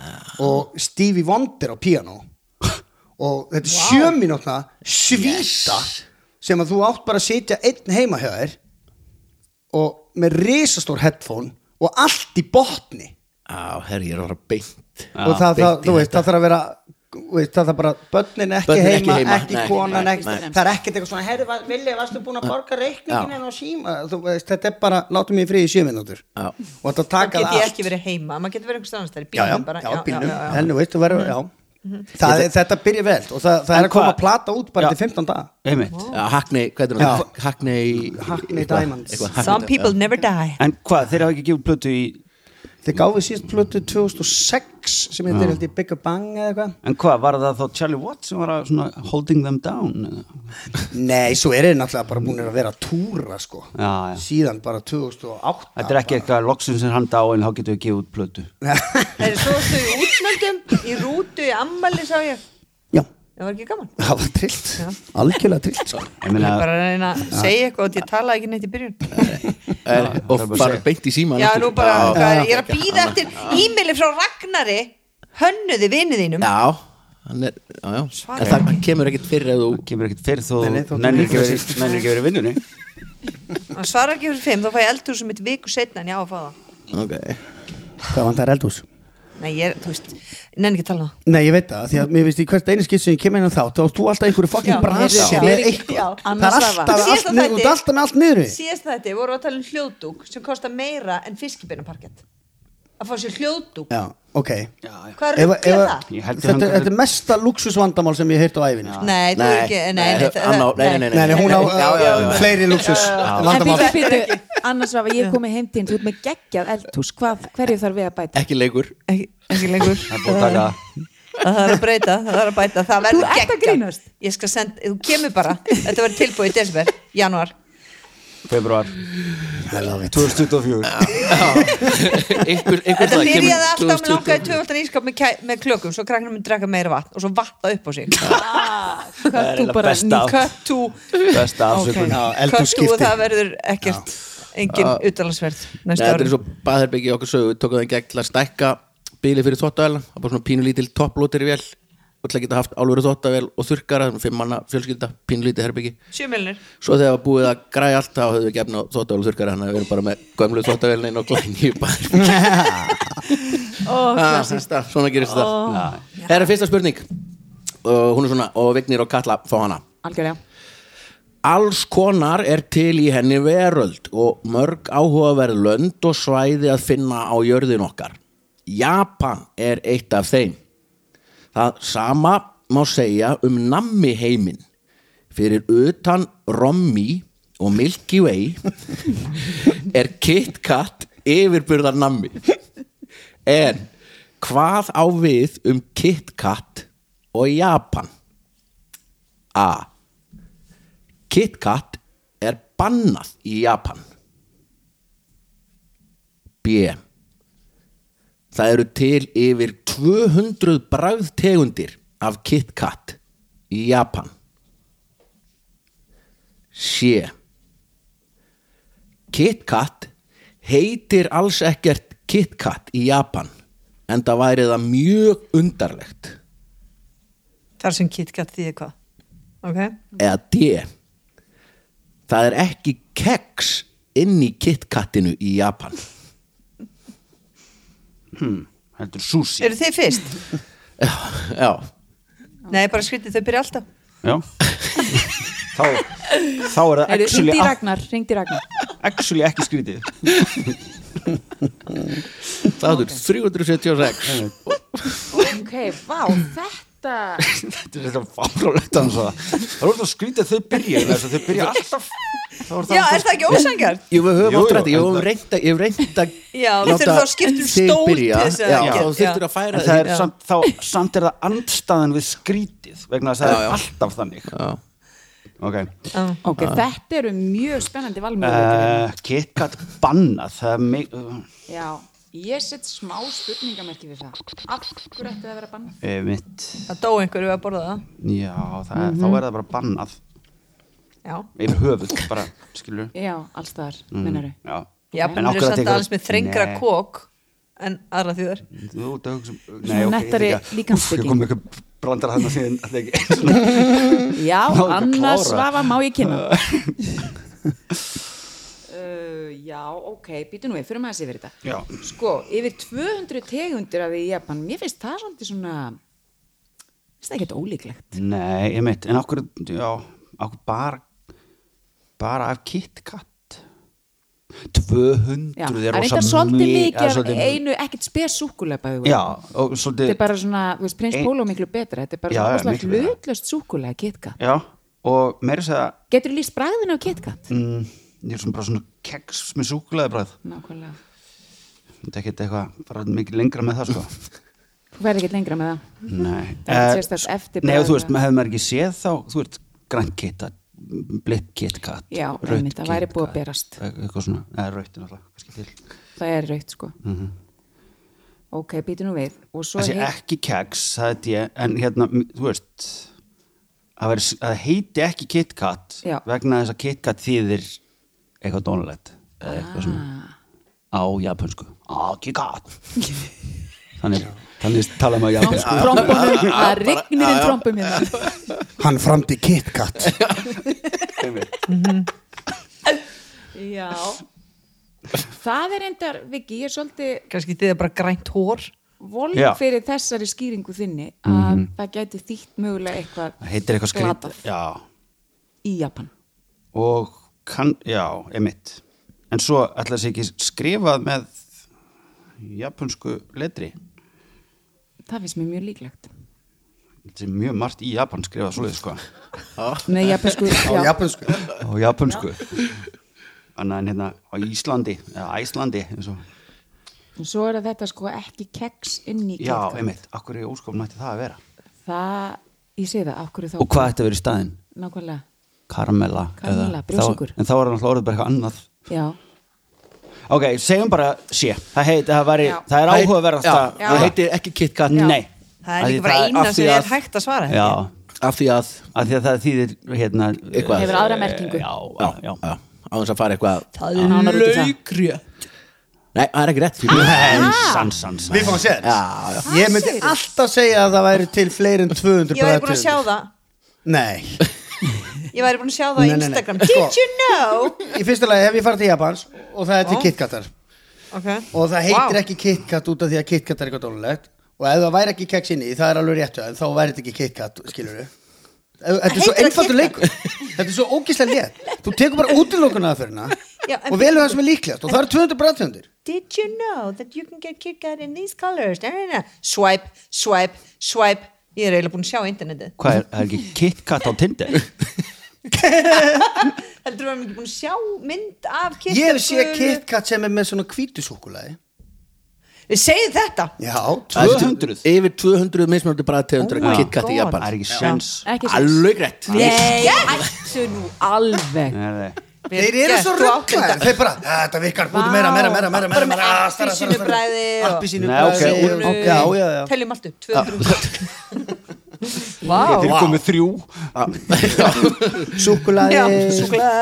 B: Ah.
E: og Stevie Wonder á piano og þetta er wow. sjö mínútna svíta sem að þú átt bara að sitja einn heima hjá þér og með risastór headphone og allt í botni
B: Á, herri, ég er að fara beint
E: og það,
B: beint
E: það,
B: í
E: þú veist,
B: þetta.
E: það þarf að vera þú veist, það þarf bara, börnin ekki
B: Börnin ekki
E: heima, ekki,
B: heima, nei,
E: konan
B: nei,
E: ekki,
B: nei.
E: það er ekkert eitthvað svona herri, var- Villi, varstu búin að borga reikningin
B: Já.
E: en á síma, þú veist, þetta er bara látum mig í friði í sjö mínútur
B: Já.
E: og þetta
H: Það
E: taka
H: get
E: það
H: ég
E: allt
H: ekki verið heima, maður getur verið einhvers staðar í
E: já, já,
H: bílnum bara.
E: já, bílnum,
H: já, Mm. Mhm. já.
E: en þú veist, þú verður, já það, er- þetta byrja vel og það, það
D: En
E: er að koma
D: hvað-
E: að plata út bara
D: Já.
E: til 15 dag
D: einmitt
B: Já, Hackney, hvernig er það? Hackney
E: Hackney
B: eitthvað-
E: Diamonds.
B: eitthvað
H: Some
B: Hackney-
H: people never die.
D: En hvað, þeir hafa ekki gefið plötu í
E: þeir gáfið síðast plötu 2006 sem heitir held ég Big Bang eða eitthvað
D: En hvað, var það þá Charlie Watts sem var að svona holding them down? eða?
E: nei, svo er þeir náttúrulega bara búin að vera að túra sko,
D: Já, já.
E: síðan bara 2008
D: Þetta er ekki eitthvað loksins sem hann dáin, þá getum við gefið út plötu.
H: [laughs] Það er svo stu í útnöldum, í rútu, í ammali sá ég.
E: já,
H: Það var ekki gaman.
E: það var trillt, algjörlega trillt
B: Eh,
E: sko.
D: Ég
H: Ég
D: meina,
H: er bara að reyna að segja eitthvað og ég talaði ekki neitt í byrjun
B: En- Og fara beint í síma
H: Já, nú bara, hvað er, ég er að býða eftir e-maili frá Ragnari Hönnuði vinið þínum
B: Já, hann er, já, já
H: Svarar
B: En það
H: ekki.
B: kemur ekkert fyrir að þú
D: kemur ekkert fyrir
E: Nei, nei,
D: þó
E: þó-
D: nennir ekki verið- nennir ekki verið í vinnunni.
H: Hann svarar ekki fyrir fimm, þá fæ ég eldur sem eitt viku setna en ég á að fá það
B: Ok,
E: Hvað vantar eldhús?
H: Nei, ég, er, þú veist, nenni ekki að tala um það
E: Nei, ég veit það, því að mér finnst í hvert einu skipt sem ég kem inn á þá, þá ert þú alltaf einhverju
H: Já,
E: fucking brasi
H: já.
E: með
H: Já,
E: eitthvað Það
C: annars
E: er
C: það var.
E: alltaf, allt
H: Síðasta
E: niður, þú
H: þætti.
E: ert alltaf með allt niður í.
H: Síðast þetta voru að tala um hljóðdúk sem kostar meira en fiskibinaparkett Að fá sér hljóðdúk
E: Já, ok
H: Hvað
E: Ef-
H: ruggla
E: ef-
H: það?
D: Ég held ég
E: Þetta
D: hann-
E: þetta er mesta luxusvandamál sem ég hef heyrt á ævinni sko.
H: Nei, þú er ekki, nei, nei, það-
B: hann á- nei, nei,
E: Nei, nei, hún á
B: Já, já, já.
E: fleiri luxus
C: En
E: vandamál
C: býtu, býtu, annars var ég komið heim til þín, þú ert með geggjað eldhús, hvað, hverju þarf við að bæta?
B: ekki
H: [laughs]
B: leikur
H: ekki, ekki lengur
D: Það er búið að taka
H: [laughs] Það þarf að breyta, það þarf að bæta Það
C: Þú
H: verður
C: ert að
H: geggjað.
C: grínast.
H: Ég skal senda, þú kemur bara Þetta verður tilbúið í desember, janúar
D: februar
E: I love it.
D: 2024.
B: Einhver- einhver
H: Þetta
B: dag kemur
H: byrjaði alltaf með
B: 2020.
H: langaði tvöfaldan ískap með, kæ- með klökum svo krakkanum mun drekka meira vatn og svo vatta upp á sig
D: Það er
C: Ah, Hvað þú
D: eiginlega
C: bara
D: besta, af-
H: cut to
D: besta afsökun.
E: Já,
H: cut to og
E: eldhússkipti
H: það verður ekkert engin utalansverð
B: Nei,
H: næsta
B: þetta er
H: ári
B: svo baðherbyggi okkar sögu Við tókum það í gegn til að stækka bíli fyrir þóttavæla Það er bara svona pínulítil topplóteri vel Og til að geta haft álveru þóttavæl og þurrkara þannig Fimm manna fjölskylda, pínulítið herbyggi
H: sjömilnir
B: Svo þegar var búið að græja allt þá höfðum við gefn á þóttavæl og þurrkara Þannig að við erum bara með gömlu þóttavælin og glæni í baðherbyggi Ah, sísta, Svona gerist það Það er fyrsta spurning og hún er svona, og Vignir og Katla fá hana
C: Algjörlega.
B: Alls konar er til í henni veröld og mörg áhugaverð lönd og svæði að finna á jörðin okkar. Japan er eitt af þeim. Það sama má segja um nammi heiminn. Fyrir utan Rommi og Milky Way er Kit Kat yfirburðar nammi. En hvað á við um Kit Kat og Japan? A. KitKat er bannað í Japan B Það eru til yfir 200 bragðtegundir af KitKat í Japan C KitKat heitir alls ekkert KitKat í Japan en það væri það mjög undarlegt
H: þar sem KitKat þýðir hvað ok,
B: eða D það er ekki keks inn í KitKatinu í Japan
D: Heldur sushi.
H: eru þið fyrst?
B: já,
H: nei, bara skrítið, þau byrja alltaf
D: Já. [laughs] Þá, þá er það actually, ah.
C: Ringdi Ragnar, ringdi Ragnar.
D: actually ekki skrítið.
B: það er 376
C: Ok, vá, þetta...
D: Þetta er þetta fárálegt að hann svo það. Það voru það skrítið að þau byrja. vegna þess að Þau byrja alltaf. þá voru
H: já, er það ekki ósangjart?
B: Jú, við höfum
D: Jú,
B: átt
D: jú,
B: rætti, ég
D: en
B: hef reynt að, ég hef reynt að
H: Já, við
B: láta
H: þurfum þá að skipta um
B: þig
H: stól til
B: byrja.
H: þess að
B: Já,
H: gera-
B: þá þurftur að
H: Já.
B: færa
D: En það er
B: þig.
D: samt, þá, samt er það andstaðan við skrítið vegna þess að það er alltaf þannig
B: Já.
D: ok
C: ok,
D: Ah.
C: þetta eru mjög spennandi valmjöguleikir
D: uh, KitKat bannað það er mig
C: já, ég set smá spurningamerki við það af hverju ætti það að vera banna
D: uh, mitt,
H: það dó einhverju að borða það
D: já, það, þá
H: Mhm.
D: er það bara bannað
H: já,
D: yfir höfuð, bara, skilur
C: já, alls þar, mm. minnaru
D: já,
H: já
D: En
H: bennur
D: okkur að
H: er samt
D: tekur-
H: aðeins með þrengra
D: Nei.
H: kók en aðra þjóðar
D: þú ert að hugsa um-
C: Svona
D: ok,
C: nettari
D: ég þekki að-
C: líkamsbygging.
D: Úff, ég kom með eitthvað brandar hann að síðan að það ekki [laughs] svona
C: já,
D: Má ekki klára.
C: annars svafa má ég
D: [laughs]
C: kynna uh,
D: Eh,
C: já, ok, býtu nú við fyrir maður að sé fyrir þetta
D: Já.
C: sko, yfir 200 tegundir af því í Japan, mér finnst það svolítið svona finnst það ekki ólíklegt
D: Nei, ég meitt, en okkur, já, okkur bara, bara af KitKat 200
C: Já,
D: er
C: það er
D: rosa
C: eitthvað svolítið
D: mi-
C: mikið
D: það er
C: af
D: svolítið-
C: einu, ekkert spes súkulega bæðu
D: Já, og svolítið
C: þetta er bara svona, þú veist, prins
D: Ein-
C: Pólo miklu betra þetta er bara
D: Já, já,
C: svona rosalega
D: miklu betra.
C: hlutlöst súkulega KitKat
D: Já, og meira þess að
C: getur líst bræðin á KitKat?
D: mm, ég er svona bara svona keks með súkulega bræð
C: nákvæmlega,
D: Þetta er ekkert eitthvað, bara mikið lengra með það sko
C: þú verður ekkert lengra með það
D: Nei
C: Það
D: Eh,
C: er sérstakt eftirbragð
D: Nei, og þú veist,
C: að-
D: maður hefur maður ekki séð þá, þú veist, grænt KitKat, blitt KitKat
C: Já,
D: rautt
C: einmitt, það væri búið að
D: KitKat,
C: berast.
D: Eitthvað svona, eða rautt náttúrulega, kannski til
C: það er raukt sko
D: Mhm.
C: ok, býtu nú við og svo
D: Það sé
C: heit-
D: ekki keks, það heit ég, en hérna, m- þú veist, það, veri, það heiti ekki KitKat
C: Já.
D: vegna þess að KitKat þýðir eitthvað dónulegt eða eitthvað svona
C: Ah.
D: á japansku, á
C: [laughs]
D: KitKat. þannig, þannig tala maður japansku. [laughs]
C: trombónum, það rignir inn trombum hérna
E: Hann framdi KitKat
C: já það er endar, Viki, ég er svolítið
H: kannski þið er bara grænt hór
C: volg
D: Já. Mhm.
C: fyrir þessari skýringu þinni að það gæti þýtt mögulega eitthvað
D: Það heitir eitthvað skrýt,
C: glatað
D: já,
C: í Japan
D: og kann, já, emitt. En svo ætla þessi ekki skrifað með japansku letri.
C: það finnst mér mjög líklegt
D: Þetta er mjög margt í Japan skrifað svoleið, sko.
C: með japansku,
E: á
C: já,
E: japansku [laughs]
D: á japansku annað en hérna á Íslandi eða Æslandi eins og
C: En svo er þetta sko ekki keks inn í
D: já,
C: KitKat.
D: einmitt, akkur í óskofn ætti það að vera
C: það, ég segi það, af hverju þá
D: og hvað ætti að vera í staðinn?
C: nákvæmlega,
D: Karamella
C: Karamella,
D: eða-
C: brjósykur.
D: Þá- en þá er náttúrulega orðið bara eitthvað annað
C: já,
D: ok, segjum bara sé það, heit, það, væri,
H: Já.
D: það er áhugaverðast
B: Já,
D: að
B: það heitir ekki KitKat
D: nei
H: það
D: Af
H: er
D: því
H: líka bara
D: það-
H: eina
D: af því
H: sem er
D: að-
H: hægt að svara
D: já,
B: af því að
D: af því að það þýðir hérna
B: Eitthvað.
C: Hefur aðra merkingu.
D: já,
B: já,
D: já,
B: já, á þess að fara eitthvað
C: það er nánar út í það
B: nei, það er ekki rétt því miður.
D: en sann, sann, sann
E: Við fáum sér Ég myndi alltaf segja að það væri til fleiri en 200
H: ég væri búin að
E: bragðategundir.
H: sjá það
E: Nei
H: ég væri búin að sjá það
E: Nei,
H: á
E: nei, nei.
H: Instagram
E: Sko-
H: did you know
E: Í fyrsta lagi hef ég farið til Japans og það er til
H: Já.
E: KitKatar
H: okay.
E: og það heitir
H: Vá.
E: ekki KitKat út af því að KitKat er eitthvað dólulegt og ef það væri ekki keks inn í það er alveg réttu en þá væri þetta ekki KitKat skilur við Þetta er svo
H: heitir það
E: einfaldur
H: KitKat?
E: leikur Þetta er svo ógislega létt Þú tekur bara útilokun aðferðina
H: Já, en-
E: og velur það sem er líklegt og það eru 200 bræðtöndir
H: did you know that you can get KitKat in these colors na, na, na. swipe, swipe, swipe ég er eiginlega búin að sjá á internetið
D: hvað er, það er ekki KitKat á Tinder
H: heldur við erum ekki búin að sjá mynd af KitKat
E: Ég hef séð KitKat sem er með svona hvítusúkulaði
H: við segjum þetta
E: Já,
D: 200
B: yfir 200 mismunandi bræðtegundur
H: Oh my
B: oh KitKat í
H: God.
B: Japan
D: það er ekki sjens
C: ekki svo
B: alveg rétt
C: Nei, ættu nú alveg
D: Nei, nei.
E: Þeir eru svo
H: Þú átt þetta.
E: rögglæðir Þeir bara, "Ah, þetta virkar, búið meira, meira, meira, meira, meira,
H: Bara með
E: meira ah, stærra, stærra, stærra."
H: appelsínubræði og-
E: Appelsínubræði
D: Nei,
E: og-
D: ok,
E: Já, já, já
H: teljum allt upp,
B: [laughs]
H: 200 Vá,
D: Þeir komið þrjú Ah. [laughs]
E: Súkulaði
H: já, súkulega,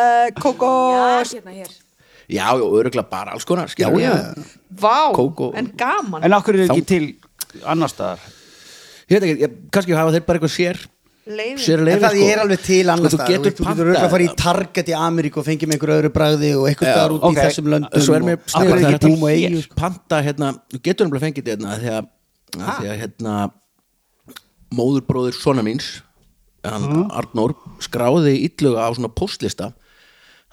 H: kókos
C: hérna hér
B: já, já, öruglega bara alls konar já,
E: já.
H: Vá,
B: Kókó.
H: en gaman
D: En okkur er ekki til annar staðar
B: Ég veit ekki, ég, kannski hafa þeir bara eitthvað sér
H: Leiðin.
B: sér
E: En
B: leiðir
E: það er alveg til annars
B: sko, þú
E: staðar,
B: getur
E: þú getur auðvitað að fara í
B: pantað
E: Target í Ameríku og fengið með einhverju öðru bragði og eitthvað staðar út
D: ok.
E: í þessum löndum
B: svo er mér
E: og akkur er
B: það er
E: ekki búm og
B: hér.
E: eigu
B: panta hérna, þú getur umlega fengið þetta hérna af því að, að, því að hérna móðurbróðir svona míns hann Arnór skráði illuga á svona postlista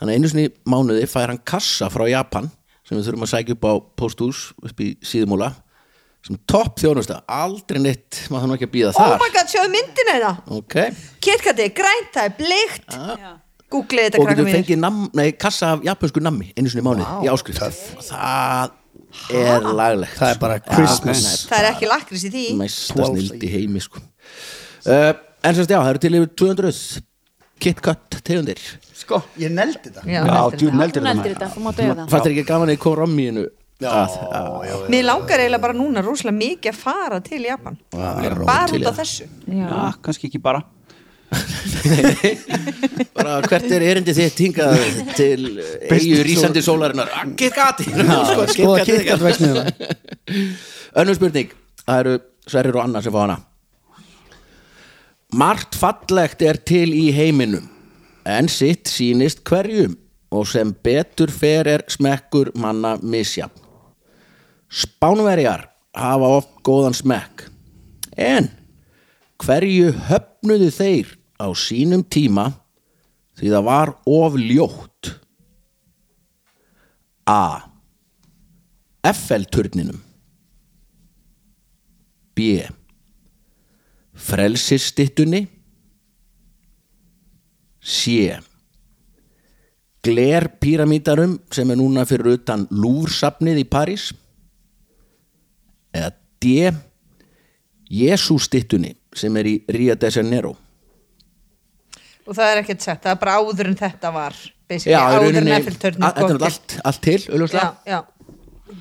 B: hann einu sinni í mánuði fær hann kassa frá Japan sem við þurfum að sækja upp á posthús upp í síðumúla sem topp þjónusta, aldrei neitt maður þannig ekki að býða
H: Oh
B: þar
H: my god, sjáðu myndina hérna
B: ok,
H: Kitkati, grænt, það er bleikt Googlið
B: og
H: þetta krakkar
B: getur
H: mínir
B: fengið nam, nei, kassa af japansku nammi einu sinni í mánuði í áskrift og það er laglegt
E: Það er bara Christmas
H: Það er ekki lakrís í því
B: Eh, mesta snild í heimi sko. uh, en semst já, það eru til yfir 200 KitKat tegundir
E: Sko, ég neldi þetta
D: Já, djú, neldir þetta
C: Hún eldir
D: maður.
C: þetta, þú mátt auða það
B: Fattir ekki gaman í koramíinu að,
H: Mér langar eiginlega bara núna rosalega mikið að fara til Japan bara út af þessu
D: Já, kannski ekki bara
B: [laughs] bara, Hvert er erindi þitt hingað til eigu rísandi sólarinnar Ah, KitKat [laughs]
E: Sko, KitKat vexmiðuna
B: Önnur spurning Það eru Sverrir og Anna sem fá hana Margt fallegt er til í heiminum en sitt sýnist hverjum og sem betur fer er smekkur manna misjafn. Spánverjar hafa oft góðan smekk en hverju höfnuðu þeir á sínum tíma því það var of ljótt A. FL-turninum B. Frelsistittunni C. Glerpíramítarum sem er núna fyrir utan Lúrsafnið í París eða D. Jésústittunni sem er í Rio de Janeiro
H: og það er ekkert sett, það er bara áður en þetta var basically,
B: Já, í
H: áður en
B: rauninni- a-
H: Eiffeltörn
B: Þetta er náttúrulega allt, allt til, auðvitað
H: já, já,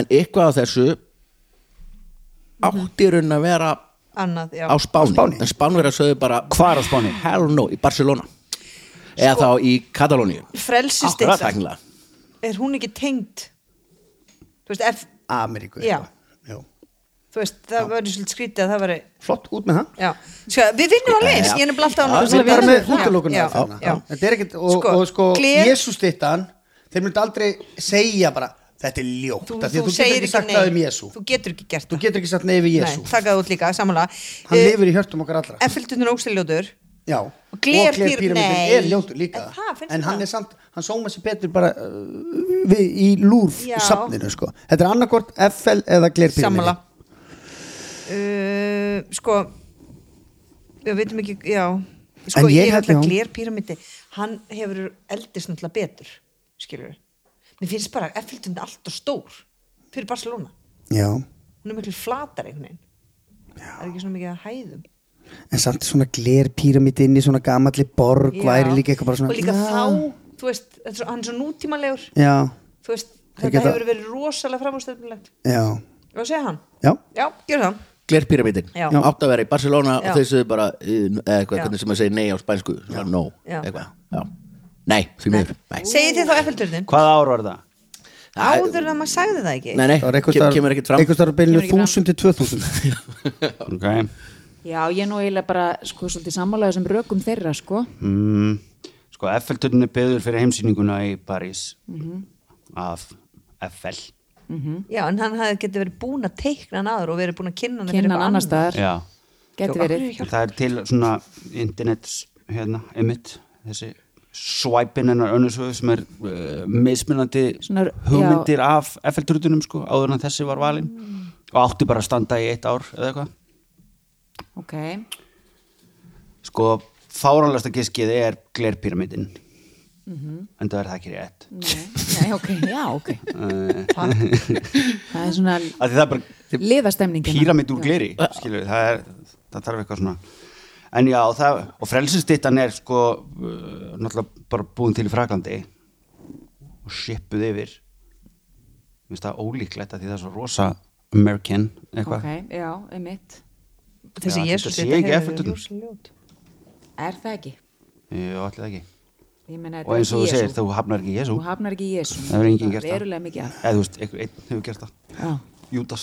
B: en eitthvað af þessu
H: Mhm.
B: átti í raunin að vera
H: annað, já.
B: á Spáni, en Spánverjar sögðu bara
D: Hvar á Spáni?
B: hell no, í Barcelona eða þá í Katalóníu
H: frelsistittan,
B: tæknilega
H: er hún ekki tengd þú veist, ef,
E: Ameríku sko.
H: Já.
E: eitthvað. Jú.
H: þú veist það verður svolítið skrítið að það verður
E: Flott, út með það
H: Já, sko, við vinnum á leins, ég er nefnilega alltaf á
E: Það er bara með útilokunar
H: Já, já.
E: Þetta er ekkert, og
H: Sko,
E: sko, og sko
H: gler-
E: Jésústittan, þeir myndi aldrei segja bara, þetta er ljótt
H: Þú,
E: af því
H: þú,
E: að þú
H: segir
E: getur ekki sagt það um Jésú
H: Þú getur ekki gert
E: Þú getur ekki sagt neyfi Jésú
H: Nei, þakkaði út líka, Eh, samanlega
E: Hann lifir í hjörtum okkar allra
H: Effeltun er ógstiljótur
E: Já,
H: Og gler- nei.
E: er ljótur líka
H: En það finnst
E: En hann
H: það.
E: er samt, hann sóma sér betur bara uh, við, í lúrf
H: Já.
E: safninu sko. Þetta er annarkort FL eða glerpíramíti
H: Samanlega uh, Sko Við veitum ekki, já Sko,
E: En ég
H: ég er
E: held-
H: alltaf
E: já.
H: glerpíramindi Hann hefur eldist náttúrulega betur Skilur Mér finnst bara Effeltun er alltaf stór Fyrir Barcelona
E: Já,
H: Hún er miklu flatar einhvern veginn Það er ekki svona mikið að hæðum
E: en samt svona glerpíramíti inn í svona gamalli borg
H: Já.
E: væri líka eitthvað bara svona
H: og líka
E: já.
H: þá, þú veist, þetta er svo- hann er svo nútímalegur
E: Já,
H: þú veist,
E: Þeir
H: þetta
E: geta-
H: hefur verið rosalega framhústöfnilegt
E: já,
H: og segja hann,
E: já
H: já, gera það
B: Glerpyramitin,
H: Já.
B: átt að vera í Barcelona
H: Já.
B: og þau sögðu bara, eh, eða eitthvað,
H: Já.
B: hvernig sem að segja nei á spænsku já. no,
H: Já.
B: eitthvað já. nei, því miður, nei
H: segið þið þá Eiffelturnin,
D: Hvað ár var það?
H: áður en að maður sagði það ekki
B: nei, nei,
E: Það var
B: kem, kemur ekkert fram
E: einhvers þar á bylnu 1000 til 2000
D: Okay.
C: Já, ég er nú eiginlega bara sko svolítið sammálaðið sem rökum þeirra sko
D: Mm,
B: Hmm.
D: sko, Eiffeltörn er byggður fyrir heimsýninguna í París af Eiffel
H: já, en hann hafði getið verið búin að teikna hann aður og verið búin að kynna hann
C: Kinnan annar staðar,
D: Já,
C: geti verið
D: En það er til svona internets hérna, emitt, þessi swipein hennar önnursöðu sem er uh, mismunandi
C: Svona- já.
D: hugmyndir af FL-trutunum sko, áður en að þessi var valin og átti bara að standa í eitt ár eða eitthvað
C: Ok,
D: sko, fáránlegasta giskið er glerpyramidin
C: Mhm.
D: en það er það ekki rétt
C: nei, nei, ok, já, ok
D: uh,
C: Það er svona
D: að það er bara
C: liðastemningin
D: píramid úr gleri skilur, það, er, það þarf eitthvað svona en já, það, og frelsistittan er sko uh, náttúrulega bara búin til í Fraklandi og shippuð yfir mér finnst það ólíklegt að því það er svo rosa American eitthvað
C: Ok, já, einmitt
H: þessi
D: Já, þetta
H: Jésús,
D: sé
H: þetta
D: ekki
H: hefur
D: Eiffelturnin.
H: verið ljósljót
C: Er það ekki?
D: Jú, allir það ekki
C: Ég meina, þetta
D: og
C: er
D: eins og þú
C: ekki
D: segir,
C: Jesú.
D: þú hafnar ekki Jésu
C: Þú hafnar ekki Jésu
D: það hefur enginn gert
C: það
D: það
C: Verulega mikið að
D: eða þú veist, einhver einn hefur gert það
C: Já.
D: Júdas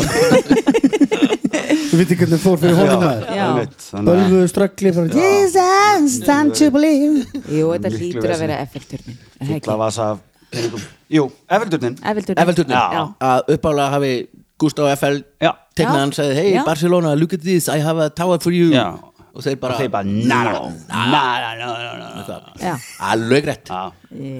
C: [laughs]
E: Þú veitir hvernig það fór fyrir hóðum aður
C: Já.
D: einmitt, þannig að
E: Bölvu ströggli frá Jesus, time to believe
C: Jú, þetta
D: Miklu
C: hlýtur að
D: vesen.
C: vera effekturnin
D: fulla vasa af peningum Jú, Efeldurnin
C: Efildurnin
B: Efelturnin,
D: Já.
B: að uppálega hafi Gustaf FL
D: Já.
B: tegnað hann sagði, hey
C: Já.
B: Barcelona, look at this I have a tower for you
D: Já.
B: og þeir bara,
D: og þeir bara, na, na, na, na, na, na, na
C: Já,
B: alvegrætt
D: Já.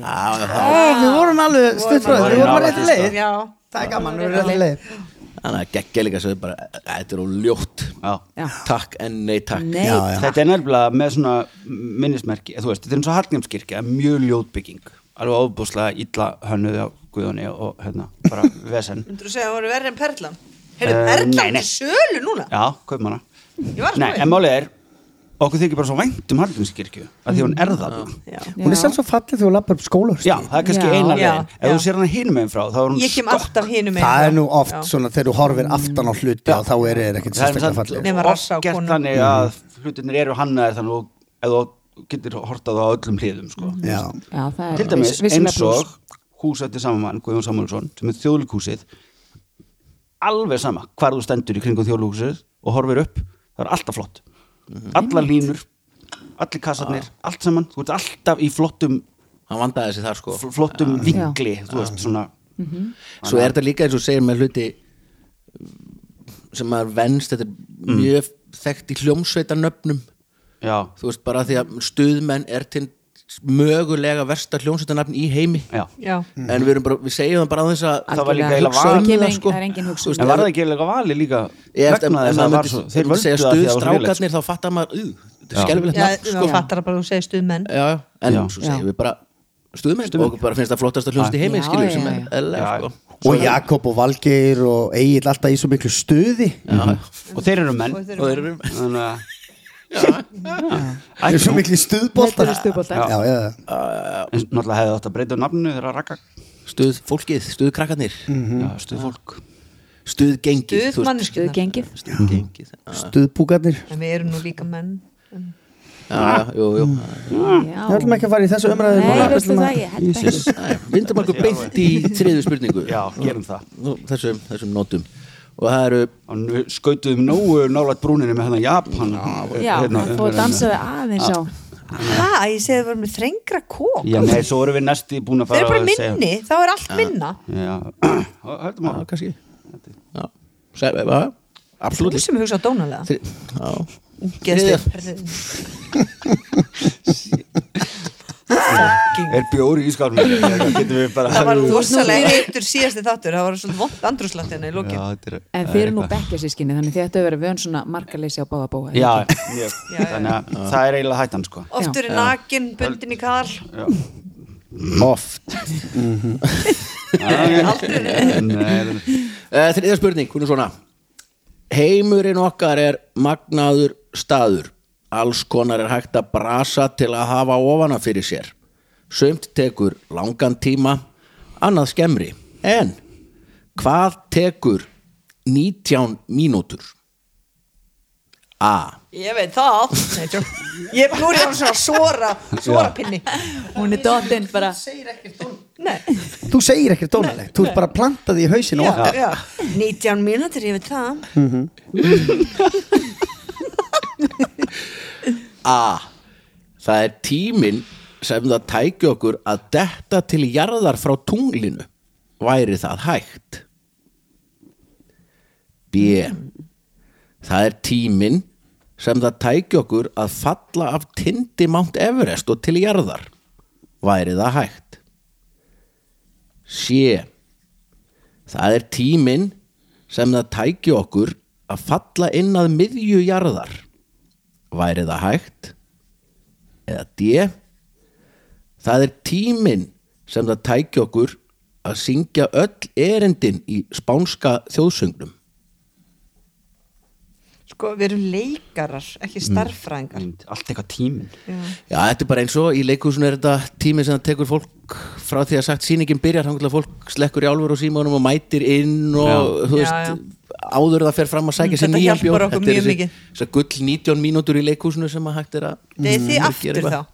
D: Ah,
E: Ah, Við vorum alveg stutt frá því, við vorum
D: Nálægt
E: að rétti
D: í
E: leið
H: já,
E: Það er gaman, við vorum rétti leið
B: þannig að geggja líka sögðu bara, þetta er óljótt
D: Já.
C: já
B: takk en nei takk
C: Nei,
D: Þetta er nefnilega með svona minnismerki, þú veist, þetta er eins og Hallgrímskirkja mjög ljótbygging, alveg óbúslega illa hönnuð á guðunni og hérna, bara
H: [laughs]
D: vesen
H: myndur þú segja að það voru verri en Perlan heyrðu,
D: Eh, nei,
H: Perlan
D: nei.
H: er sölu núna
D: Já, kaupmanna
H: ég var að
D: Nei,
H: spá í.
D: en málið er okkur þykir bara svo vænt um Hallgrímskirkju að því hún er það já.
E: Hún er samt svo fallið þegar hún lappar upp skóla sko.
D: já, það er kannski
G: Já.
D: eina
H: Já.
D: legin ef þú
H: Já.
D: sér hana hinum meginn frá þá er hún
H: Ég kem alltaf hinum megin
E: Það
H: frá.
E: er nú oft
H: Já.
E: svona þegar þú horfir aftan á hluti og þá er þeir ekkert
D: það er
E: sérstaklega
D: samt
E: fallið
H: Nema rassa á
D: oft gert
H: konum.
D: þannig að hlutinir eru hannaðir þannig og ef þú getur hortað á öllum hliðum sko.
E: Já,
C: Já, það er
D: til dæmis
C: viss- vissulega
D: eins
C: plús.
D: og húsætti samanmann Guðjón Samuelsson sem er þjóðlíkhúsið alveg sama hvar þú stendur í kringum þjóðlíkhúsið og horfir upp, það er alltaf flott allar línur, allir kassarnir allt saman, þú ert alltaf í flottum
B: hann vandaði sig þar sko
D: fl- flottum vingli, þú veist svona
B: svo er þetta líka eins og segir með hluti sem maður venst þetta
D: Mm.
B: er mjög þekkt í hljómsveitarnöfnum
D: já,
B: þú veist bara því að stuðmenn er til mögulega versta hljómsveitarnöfn í heimi
D: já
H: Já,
B: en við, erum bara, við segjum það bara á þess að
D: Það var líka
C: Algjörlega.
D: eiginlega
C: Það
D: val.
B: Það,
C: kemur engin-
B: sko.
C: Það er engin hugsun
D: en var það ekki eiginlega vali líka
B: Ég eftir,
D: vegna
B: ef
D: þess að það var
B: maður
D: svo
B: myndi,
D: þeir völdu
B: segja
D: það því að það var svo lélegt
B: stuðstrákarnir þá fattar maður, uh, þetta er skelfilegt
H: já
B: nafn
D: sko.
H: þú fattar að bara þú segir stuð menn
B: já, já, en
D: Já.
B: svo segjum við bara stuðmenn og bara finnst það flottast að hljóðast í heimi
C: Já,
B: skilur
C: já,
B: sem
C: já.
B: er eðlega
D: Já.
B: sko.
E: og Jakob og Valgeir og Egil alltaf í svo miklu stuði
D: Eh, og þeir eru menn
H: Og þeir
B: og þeir eru
D: þannig að
E: Það er svo miklu
C: Þetta
E: stuðbólta
C: eru stuðboltar.
E: Já, já, já
D: en náttúrulega hefði þetta breytið nafninu þegar að rakka
B: stuð fólkið, stuð krakkarnir
D: Mhm. stuð fólk
B: stuð gengið
H: Stuð manneskjur
C: Stuð gengið
B: stuð gengið já,
E: Stuðbúkarnir
H: En við erum nú líka menn
B: já, jú, jú Mm.
C: Já.
E: Við ætlum ekki að fara í þessu umræðu
C: Nei,
E: núna.
C: veistu það, ég held ekki
B: Æ, vindum okkur beint í þriðu spurningu
D: já, gerum það
B: Nú, þessum, þessum nótum og það eru
D: og við skautuðum nógu nálægt brúninu með hérna Japan
C: Já,
D: hérna,
C: þú dansaði aðeins á
H: Hvað, ég segi það voru með þrengra kók
D: Ah. já, nei, svo erum við næsti búin að
H: Þeir
D: fara
H: eru bara
D: að segja- Ah.
H: minni, þá er allt minna
D: já, [clears throat] höldum á
B: já, kannski já, sær, já,
H: Þú
B: absolutt
H: sem hugsa dónalega
B: Þri- já,
H: Geðstir
D: er bjóri í skálminu getum við bara
H: Það var
D: já,
H: rosalega heitur síðasti þáttur Það var svolítið vond andrúslattina í lokin
D: þetta er-
C: En þið eru nú bekkjarsískinni, þannig þið ættu að vera vön svona markaleysi á báða bóa
D: já, mjög. þannig að það er eiginlega hættan sko
H: Oftur er nakin, bundin í kal
B: oft
D: Mhm.
B: Eh, Þriðja spurning, hún er svona Heimurinn okkar er magnaður staður Alls konar er hægt að brasa til að hafa ofana fyrir sér Sumt tekur langan tíma Annað skemmri En hvað tekur 19 mínútur? A
H: Ég veit það Nei, tjó. Ég nú er ég svona svora Svora pinni
C: Hún er dottinn bara
H: Nei,
E: Þú segir ekkert dónalegt, þú ert bara að planta því í hausinu
H: já,
E: okkar
H: já. 19 mínútur, ég veit það
B: A. Það er tíminn sem það tæki okkur að detta til jarðar frá tunglinu væri það hægt B. Það er tíminn sem það tæki okkur að falla af tindi Mount Everest og til jarðar væri það hægt C. Það er tíminn sem það tæki okkur að falla inn að miðju jarðar væri það hægt eða D það er tíminn sem það tæki okkur að syngja öll erindin í spánska þjóðsöngnum
H: Sko, við erum leikarar, ekki starffræðingar
D: allt eitthvað tímin
B: Já, þetta er bara eins og í leikhúsinu er þetta tími sem það tekur fólk frá því að sagt sýningin byrjar þannig að fólk slekkur í álfur og símónum og mætir inn og þú
H: Já,
B: veist áður en það fer fram að sækja sér
H: Þetta
B: nýjan
H: hjálpar
B: bjór
H: okkur
B: er
H: mjög
B: þessi-
H: mikið.
B: þessar gull 19 mínútur í leikhúsinu sem að hægt er að
H: Nei, þið
B: að gera
H: aftur
B: Mm. eitthvað.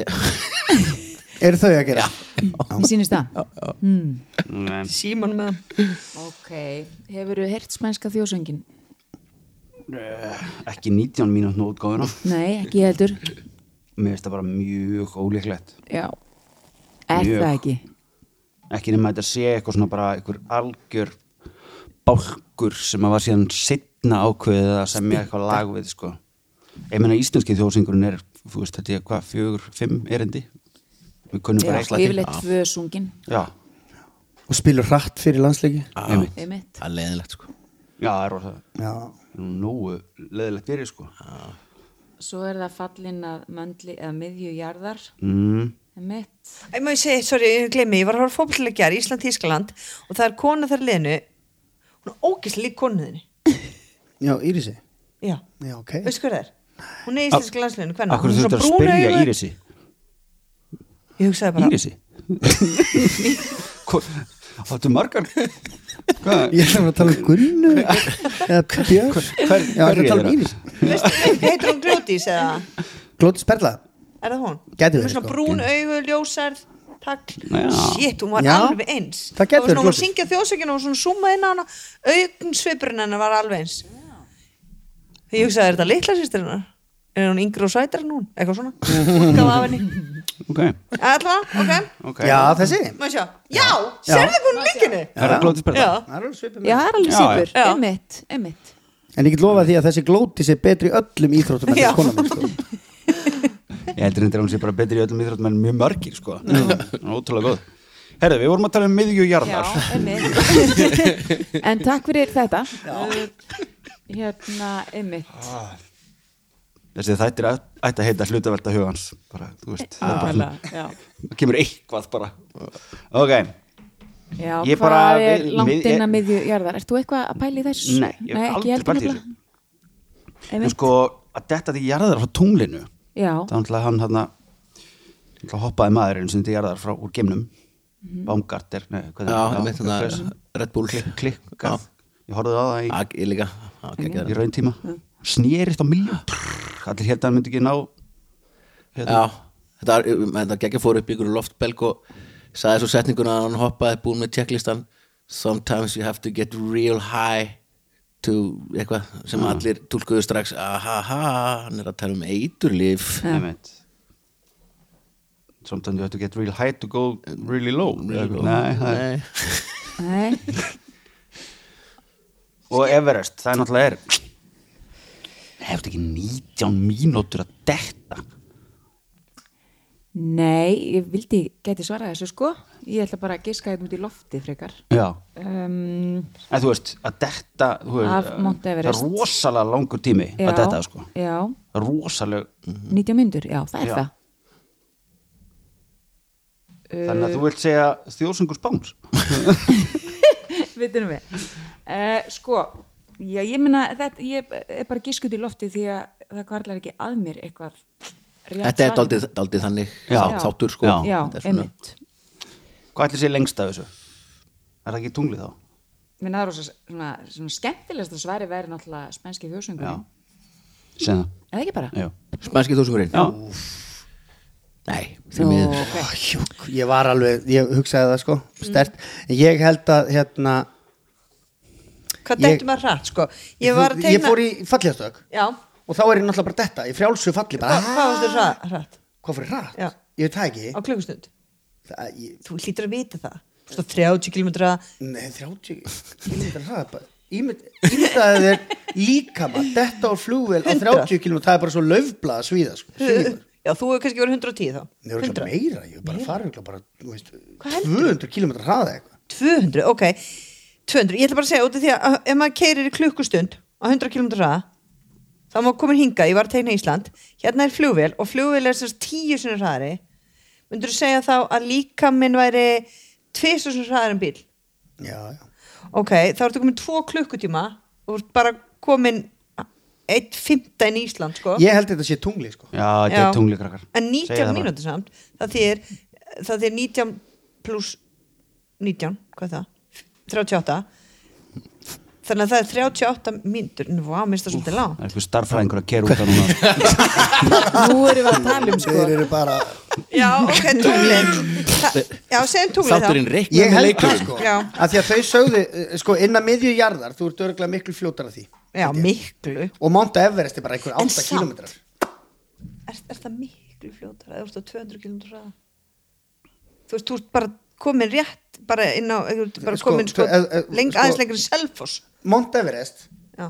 H: þá
E: Eru þau að gera?
C: Mér sýnist það
H: Símon með
C: Ok, hefur þú heyrt spænska þjósöngin?
D: ekki 19 mínútna útgáðuna
C: Nei, ekki ég heldur
D: mér finnst það bara mjög ólíklegt
C: Já Er
D: Mjög.
C: það ekki?
D: ekki nema þetta sé eitthvað svona bara einhver algjör bálkur sem að var síðan sittna ákveðið að semja eitthvað lag við sko. ég meina íslenski þjóðsingurinn er þú veist þetta er hvað, fjögur, fimm erindi við kunnum
C: Já,
D: bara eitthvað til
C: yfirleitt tvö sungin
D: já,
E: Og spilur hratt fyrir landsleiki?
D: einmitt.
C: Einmitt.
B: Það er leiðilegt sko
D: já, það er rosa
E: Já
D: nú nógu leðilegt fyrir sko
C: Svo er það fallin að möndli eða miðjujarðar
D: mm. [laughs]
C: Einmitt
H: Æ, má ég segi, sorry, ég gleymi, ég var að horfa fókbaltileggjar Ísland-Tískaland og það er kona þar í liðinu hún er ógislega lík konuðinni
E: Já, Írisi
H: já,
E: Já, ok.
H: veistu hver það er? hún er í íslensku landsliðinu, hvernig?
D: Akkur þú ert að spyrja Írisi
H: ég hugsaði bara,
D: Írisi Hva- Áttu margar Hvað
E: Ég ætla að tala um Gunnu eða Björn
D: hver-
E: Já, ég ætla að tala um
D: hverjir
E: Íris
H: [laughs] heitir hún Gljótís eða
E: Glóti Sperla
H: er það hún?
E: Gæti
H: Hún er
E: verið,
H: svona
E: sko.
H: brún augu, ljósarð takl,
D: Já.
H: shit, hún var
E: Já.
H: alveg eins
E: Það gæti verið
H: var svona, hún var að
E: Glódís.
H: syngja þjóðsökinu og svona summa inn á hana augun svipurinn hennar var alveg eins ég hugsaði, er þetta litla sýstir hennar? er hún yngri og sætar en hún? eitthvað svona, útgáfa af henni
D: Ok,
H: allavega, ok
D: ok
E: Já, þessi
H: Má ég sjá? Já, sérðu hvað hún líkinu?
D: Er það glótið
H: Já,
D: spyrta?
C: Já, það er alveg
D: Já,
C: sýpur,
H: já.
C: emitt, emitt
E: En ég get lofað því að þessi Glóti sé betri í öllum íþróttum en
H: Já.
E: þessi konan mín,
D: [laughs]
E: sko.
D: Ég heldur hendur að hún sé bara betri í öllum íþróttum en mjög margir sko Hún er Ótrúlega góð Herðu, við vorum að tala um miðju
C: Já,
D: jarðar
C: emitt [laughs] En takk fyrir þetta Uh, Hérna, emitt
D: Ah. Þessi þættir ætt- ætti að heita hlutavelta hugans bara, þú
C: Eh,
D: veist, það er bara,
C: Nákvæmlega, já.
D: það kemur eitthvað bara Ok,
C: Já,
D: Ég
C: hvað
D: bara-
C: er
D: við-
C: langt
D: við-
C: inn að miðju jarðar? Ert þú eitthvað að pæla í þessu?
D: nei, ég hef
C: ekki
D: aldrei
C: heldur
D: bælt í
C: nefnilega.
D: þessu En
C: Einmitt.
D: sko, að detta því jarðar frá tunglinu
C: Já,
D: þá náttúrulega hann hann náttúrulega hoppaði maðurinn sem til jarðar frá úr geimnum
C: Mhm.
D: Baumgarter, nei, hvað
B: Já,
D: er
B: það með
D: hver-
B: þetta Red Bull klikk
D: klikkað. Ég horfði á það í,
B: Já, ég líka Já, geggjaður.
D: í raun tíma
C: Mm.
D: Snýrist á miljón Allir held að hann myndi ekki ná Hérna.
B: Já, þetta, var- þetta geggja fór upp í ykkur loftbelg og sagði svo setninguna að hann hoppaði búin með checklistan Sometimes you have to get real high to eitthvað sem allir tólkuðu strax ahaha, hann er að tala um eiturlif
D: nefnt Sometimes you have to get real high to go really low Nei, það er-
B: Nei.
C: nei,
D: Og Everest, það er náttúrulega er Hefur þetta ekki 19 mínútur að detta
C: nei, ég vildi geti svarað þessu sko Ég ætla bara að giska þetta út í lofti frekar
D: Já,
C: um,
D: en þú veist, að detta þú
C: Af
D: veist, eh,
C: Mount
D: það er
C: Everest.
D: rosalega langur tími
C: já,
D: að detta sko
C: Já,
D: rosaleg,
C: 90 myndur, já, það er
D: Já.
C: það [laughs]
D: þannig að þú vilt segja þjóðsengur spáns
C: Vittunum við uh, Sko, já, ég meina þetta, ég er bara giskuð í lofti því að það kvarlar ekki að mér eitthvað rétt
B: Þetta er
C: svar.
B: daldið, daldið þannig
D: Já.
B: þátt- þáttur sko
D: Já.
C: Já,
B: Þetta er svona-
C: einmitt
D: hvað ætlir sé lengst af þessu? Er það ekki tunglið þá?
C: Mér náður þess að svona, svona skemmtilegast að sværi væri náttúrulega spænski þjóðsöngur
D: Já, segja
C: Eða ekki bara?
D: það Já,
B: Spænski þúsungurinn
D: Já.
B: Nei,
C: Nú,
B: því miður
C: ok.
E: Júk, Ég var alveg, ég hugsaði það sko
H: Mm.
E: stert, en ég held að hérna,
H: hvað
E: Ég-
H: dættu maður hratt sko Ég var að
E: ég
H: tegna
E: fór í fallistök
H: Já,
E: og þá er ég náttúrulega bara detta, ég frjálsu falli bara,
H: hvað hvað varstu hratt? hratt?
E: hvað fyrir rætt,
H: Já.
E: ég veit það ekki
H: Á klukkustund?
E: það, ég,
H: Þú hlýtur að vita það Svo 30 km
E: nei, 30 km rætt bara Ímynd- Ímyndaði þér líka maður detta á flugvél á 30 km það er bara svo laufblað að svíða sko. Svíður.
H: Já, þú hefur kannski verið 110 þá
E: Nei, það er
H: 100.
E: meira, ég er bara farið bara, þú veist, 200 km hraða eitthvað
H: 200, ok 200, ég ætla bara að segja út af því að ef maður keirir í klukkustund á 100 km hraða þá má komin hinga, ég var að tegna Ísland hérna er flugvél og flugvél er sérst 10 sinni hraðari myndur þú segja þá að líka minn væri 2 sinni hraðari en bíl
E: Já, já
H: ok, þá ertu komin 2 klukkutíma og þú ert bara komin 1 fymta inn í Ísland sko.
E: Ég held þetta sé tungli sko
D: Já þetta
H: Já.
D: er tunglið krakkar
H: en
D: Segið
H: 19
D: það bara.
H: mínútur samt það þýr, það þýr 19 pluss 19, hvað er það? 38 þannig að það er 38 mínútur nú að minnst það svolítið
D: Það [laughs]
H: langt
D: er eitthvað starffræðingur að kera út að [laughs] núna
C: Nú erum við að tala um sko
E: Þeir eru bara
H: já, ok, tunglið Þa- já, segjum tunglið
B: Þátturinn
H: þá
B: reiknað
E: Ég
B: með
E: held það
B: leikurinn
E: sko
H: Já.
E: að Því að þau sögðu, eh, sko, innan miðju jarðar Þú ert örgulega miklu fljótar að því
H: já, miklu er,
E: Og Monta Everest er bara einhver
H: En
E: 8
H: samt.
E: kilometrar
H: er það miklu fljótar eða þú ert á 200 km hraða þú veist, þú ert bara komin rétt bara inn á, þú ert bara
E: Sko,
H: komin sko,
E: sko, eh, eh,
H: leng,
E: sko-
H: aðeins lengur selfos
E: Monta Everest
H: já,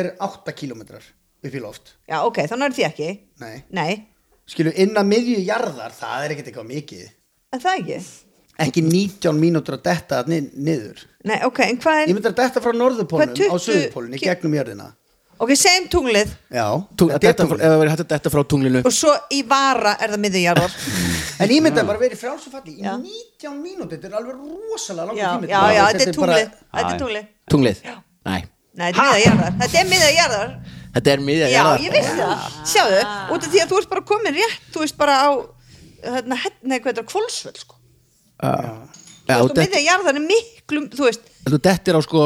E: er 8 kilometrar upp í loft
H: já, ok, þá nærðu því ekki
E: Nei.
H: nei,
E: Skilu, innan miðju jarðar, það er ekkert eitthvað mikið
H: en það ekki Mm.
E: Ekki 19 mínútur að detta þarna inn- niður
H: nei, ok, en hvað
E: Ég
H: er
E: myndi að detta frá norðupólnum
H: Hvað, 20
E: á suðupólnum í
H: ki-
E: gegnum jörðina
H: ok, segjum tunglið
E: Já,
B: Tung-
E: þetta er
B: þetta-
E: tunglið.
B: Ef það verið hægt að detta frá tunglinu
H: og svo í vara er það miðjarðar
E: En ég myndi að bara verið frjálsum falli í
H: Já.
E: 19 mínútur, þetta er alveg rosalega langur
H: já,
E: tími
H: já, já, þetta er
E: bara-
H: tunglið þetta er tunglið
B: Tunglið Nei
H: Nei, þetta er miðjarðar, þetta er miðjarðar
B: Þetta er miðja
H: Já,
B: jarðar.
H: ég vissi það, sjáðu, út af því að þú ert bara komin rétt, þú veist bara á hérna, hérna, hvað þetta er, kvólsvöld sko.
B: Já,
H: þú veist, og
B: þetta-
H: sko miðja jarðan er miklu, þú veist
B: Þú dettir á sko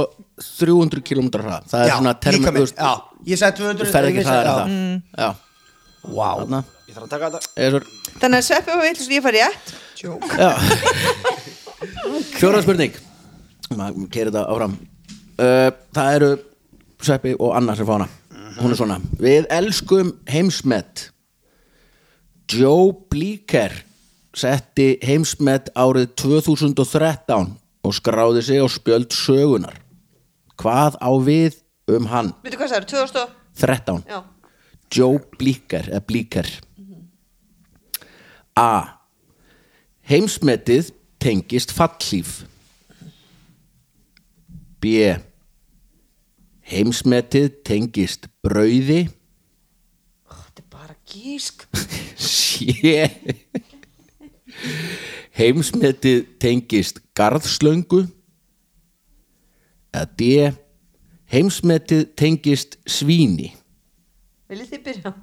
B: 300 km hrað Það er
E: já,
B: svona termi,
E: líka
B: þú
E: mér,
B: veist,
E: já, ég sagði 200
B: þú ferð ekki
E: ég sagði-
B: hraðar
E: já. Mm.
B: en það Já,
E: Vá,
B: þarna
D: Ég þarf að taka þetta
B: Eða svo-
H: þannig að sveppi og eitthvað sem ég fari rétt
B: [laughs] Fjóra spurning maður keirir þetta áfram uh, Það eru Sveppi og Anna sem fá hana Hún er svona Við elskum heimsmet Joe Blíker setti heimsmet árið 2013 og skráði sig á spjöld sögunar Hvað á við um hann?
H: veitu hvað það er, 2000 og,
B: 13
H: já,
B: Joe Blíker eða Blíker A Heimsmetið tengist fallíf B Heimsmetið tengist brauði
H: þetta er bara gísk
B: C Heimsmetið tengist garðslöngu eða D Heimsmetið tengist svíni
H: viljið þið byrja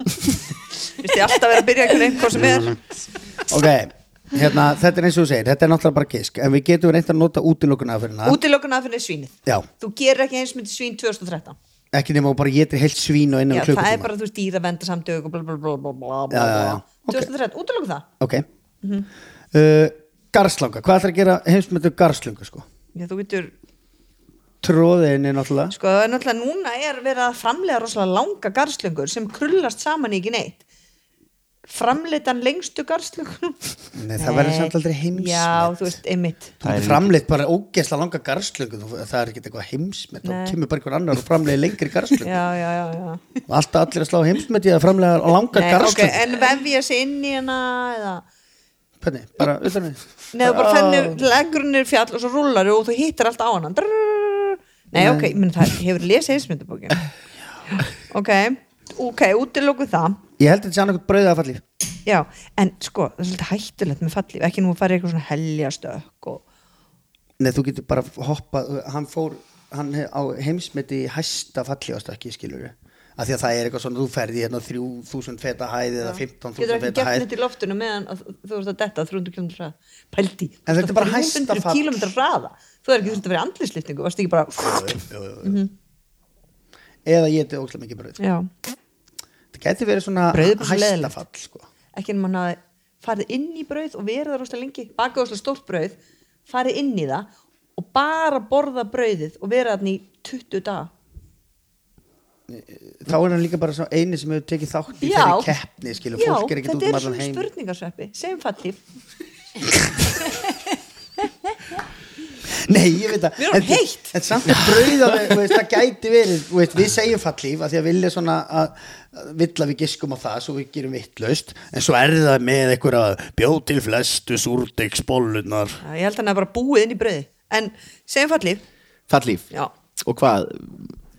H: Vist ég alltaf vera að byrja einhvern veginn hvað sem er
E: ok Hérna, þetta er eins og þú segir, þetta er náttúrulega bara gisk en við getum reynt að nota útilokuna fyrir hana
H: útilokun aðfinnir svínið
E: Já,
H: þú gerir ekki eins myndi svín 2013
E: ekki nema að bara getur heilt svín og innan
H: já,
E: já,
H: það er
E: klukkutíma
H: bara, þú veist, dýravenda samtök og bla bla bla bla bla bla
E: Já, já, já. Ok.
H: 2013, útilokun það
E: Ok uh, Garslanga, hvað ætlar að gera heimsmyndu garslungu sko?
H: já, þú getur
E: Tróðinni náttúrulega
H: Sko, náttúrulega núna er verið að framlega rosalega langa garslöngur sem krullast saman í ekki neitt. Framleitan lengstu garslöngunum.
E: Nei, það verður samt aldrei heimsmet.
H: Já, þú veist, einmitt.
E: Það er framleitt bara ógeðsla langa garslöngu þú- það er ekkert eitthvað heimsmet þá
H: Nei.
E: kemur bara einhver annar og framleiði lengri
H: Já,
E: garslöngu
H: já, já, já.
E: og alltaf allir að slá heimsmet í að framleiða langa
H: Nei, ok,
E: garslöngu
H: en vefja sig inn í hana eða...
E: Hvernig, bara utan við
H: Nei, þú bara fennir, leggur hennir fjall og svo rullar þú og þú hittir allt á hana. Drrrr. Nei, ok, menn það hefur lesið heimsmyndabókin. Ok, ok, útiloku það.
E: Ég held að þetta sé annað brauðið að falli
H: Já, en sko, það er svolítið hættulegt með fallið, ekki nú að fara í eitthvað svona heljastökk og
E: Nei, þú getur bara hoppað hann fór, hann hef- á heimsmeti í hæsta falli ástakki, skilur við af því að það er eitthvað svona, þú ferði hérna 3000 feta hæð eða 15.000
H: getur ekki
E: feta
H: gert
E: hæð
H: þetta í loftinu meðan að þú ert að detta 300 km hraða pældi,
E: En þetta er bara hæsta fall.
H: km hraða þú er ekki þurft að vera andlisliftingu varst ekki bara,
E: eða ég geti ókslega mikið brauð
H: Mhm. já,
E: það geti verið svona
H: Brauð er bara svo leiðinlegt.
E: hæstafall sko.
H: ekki en mann að farið inn í brauð og verið það rosalega lengi bakað rosalega stórt brauð, farið inn í það og bara borða brauðið og verið þarna í 20 daga
E: þá er hann líka bara svo eini sem hefur tekið þátt í
H: já,
E: þeirri keppni skilur,
H: já,
E: fólk er ekkert út
H: þetta
E: um
H: er
E: allan
H: svona
E: heim
H: spurningarsveppi segjum fallið,
E: nei, ég veit það
H: Við erum
E: en-
H: heitt.
E: en samt er brauð alveg, þú veist, það gæti verið þú veist, við segjum fallíf af því að vilja svona að að vill að við giskum á það svo við gerum vittlaust en svo er það með einhverja bjóð til flestu súrdegsbollunar
H: já, ég held að hann að bara búið inn í brauði en segjum fallið,
B: Fallíf
H: Já.
B: Og hvað?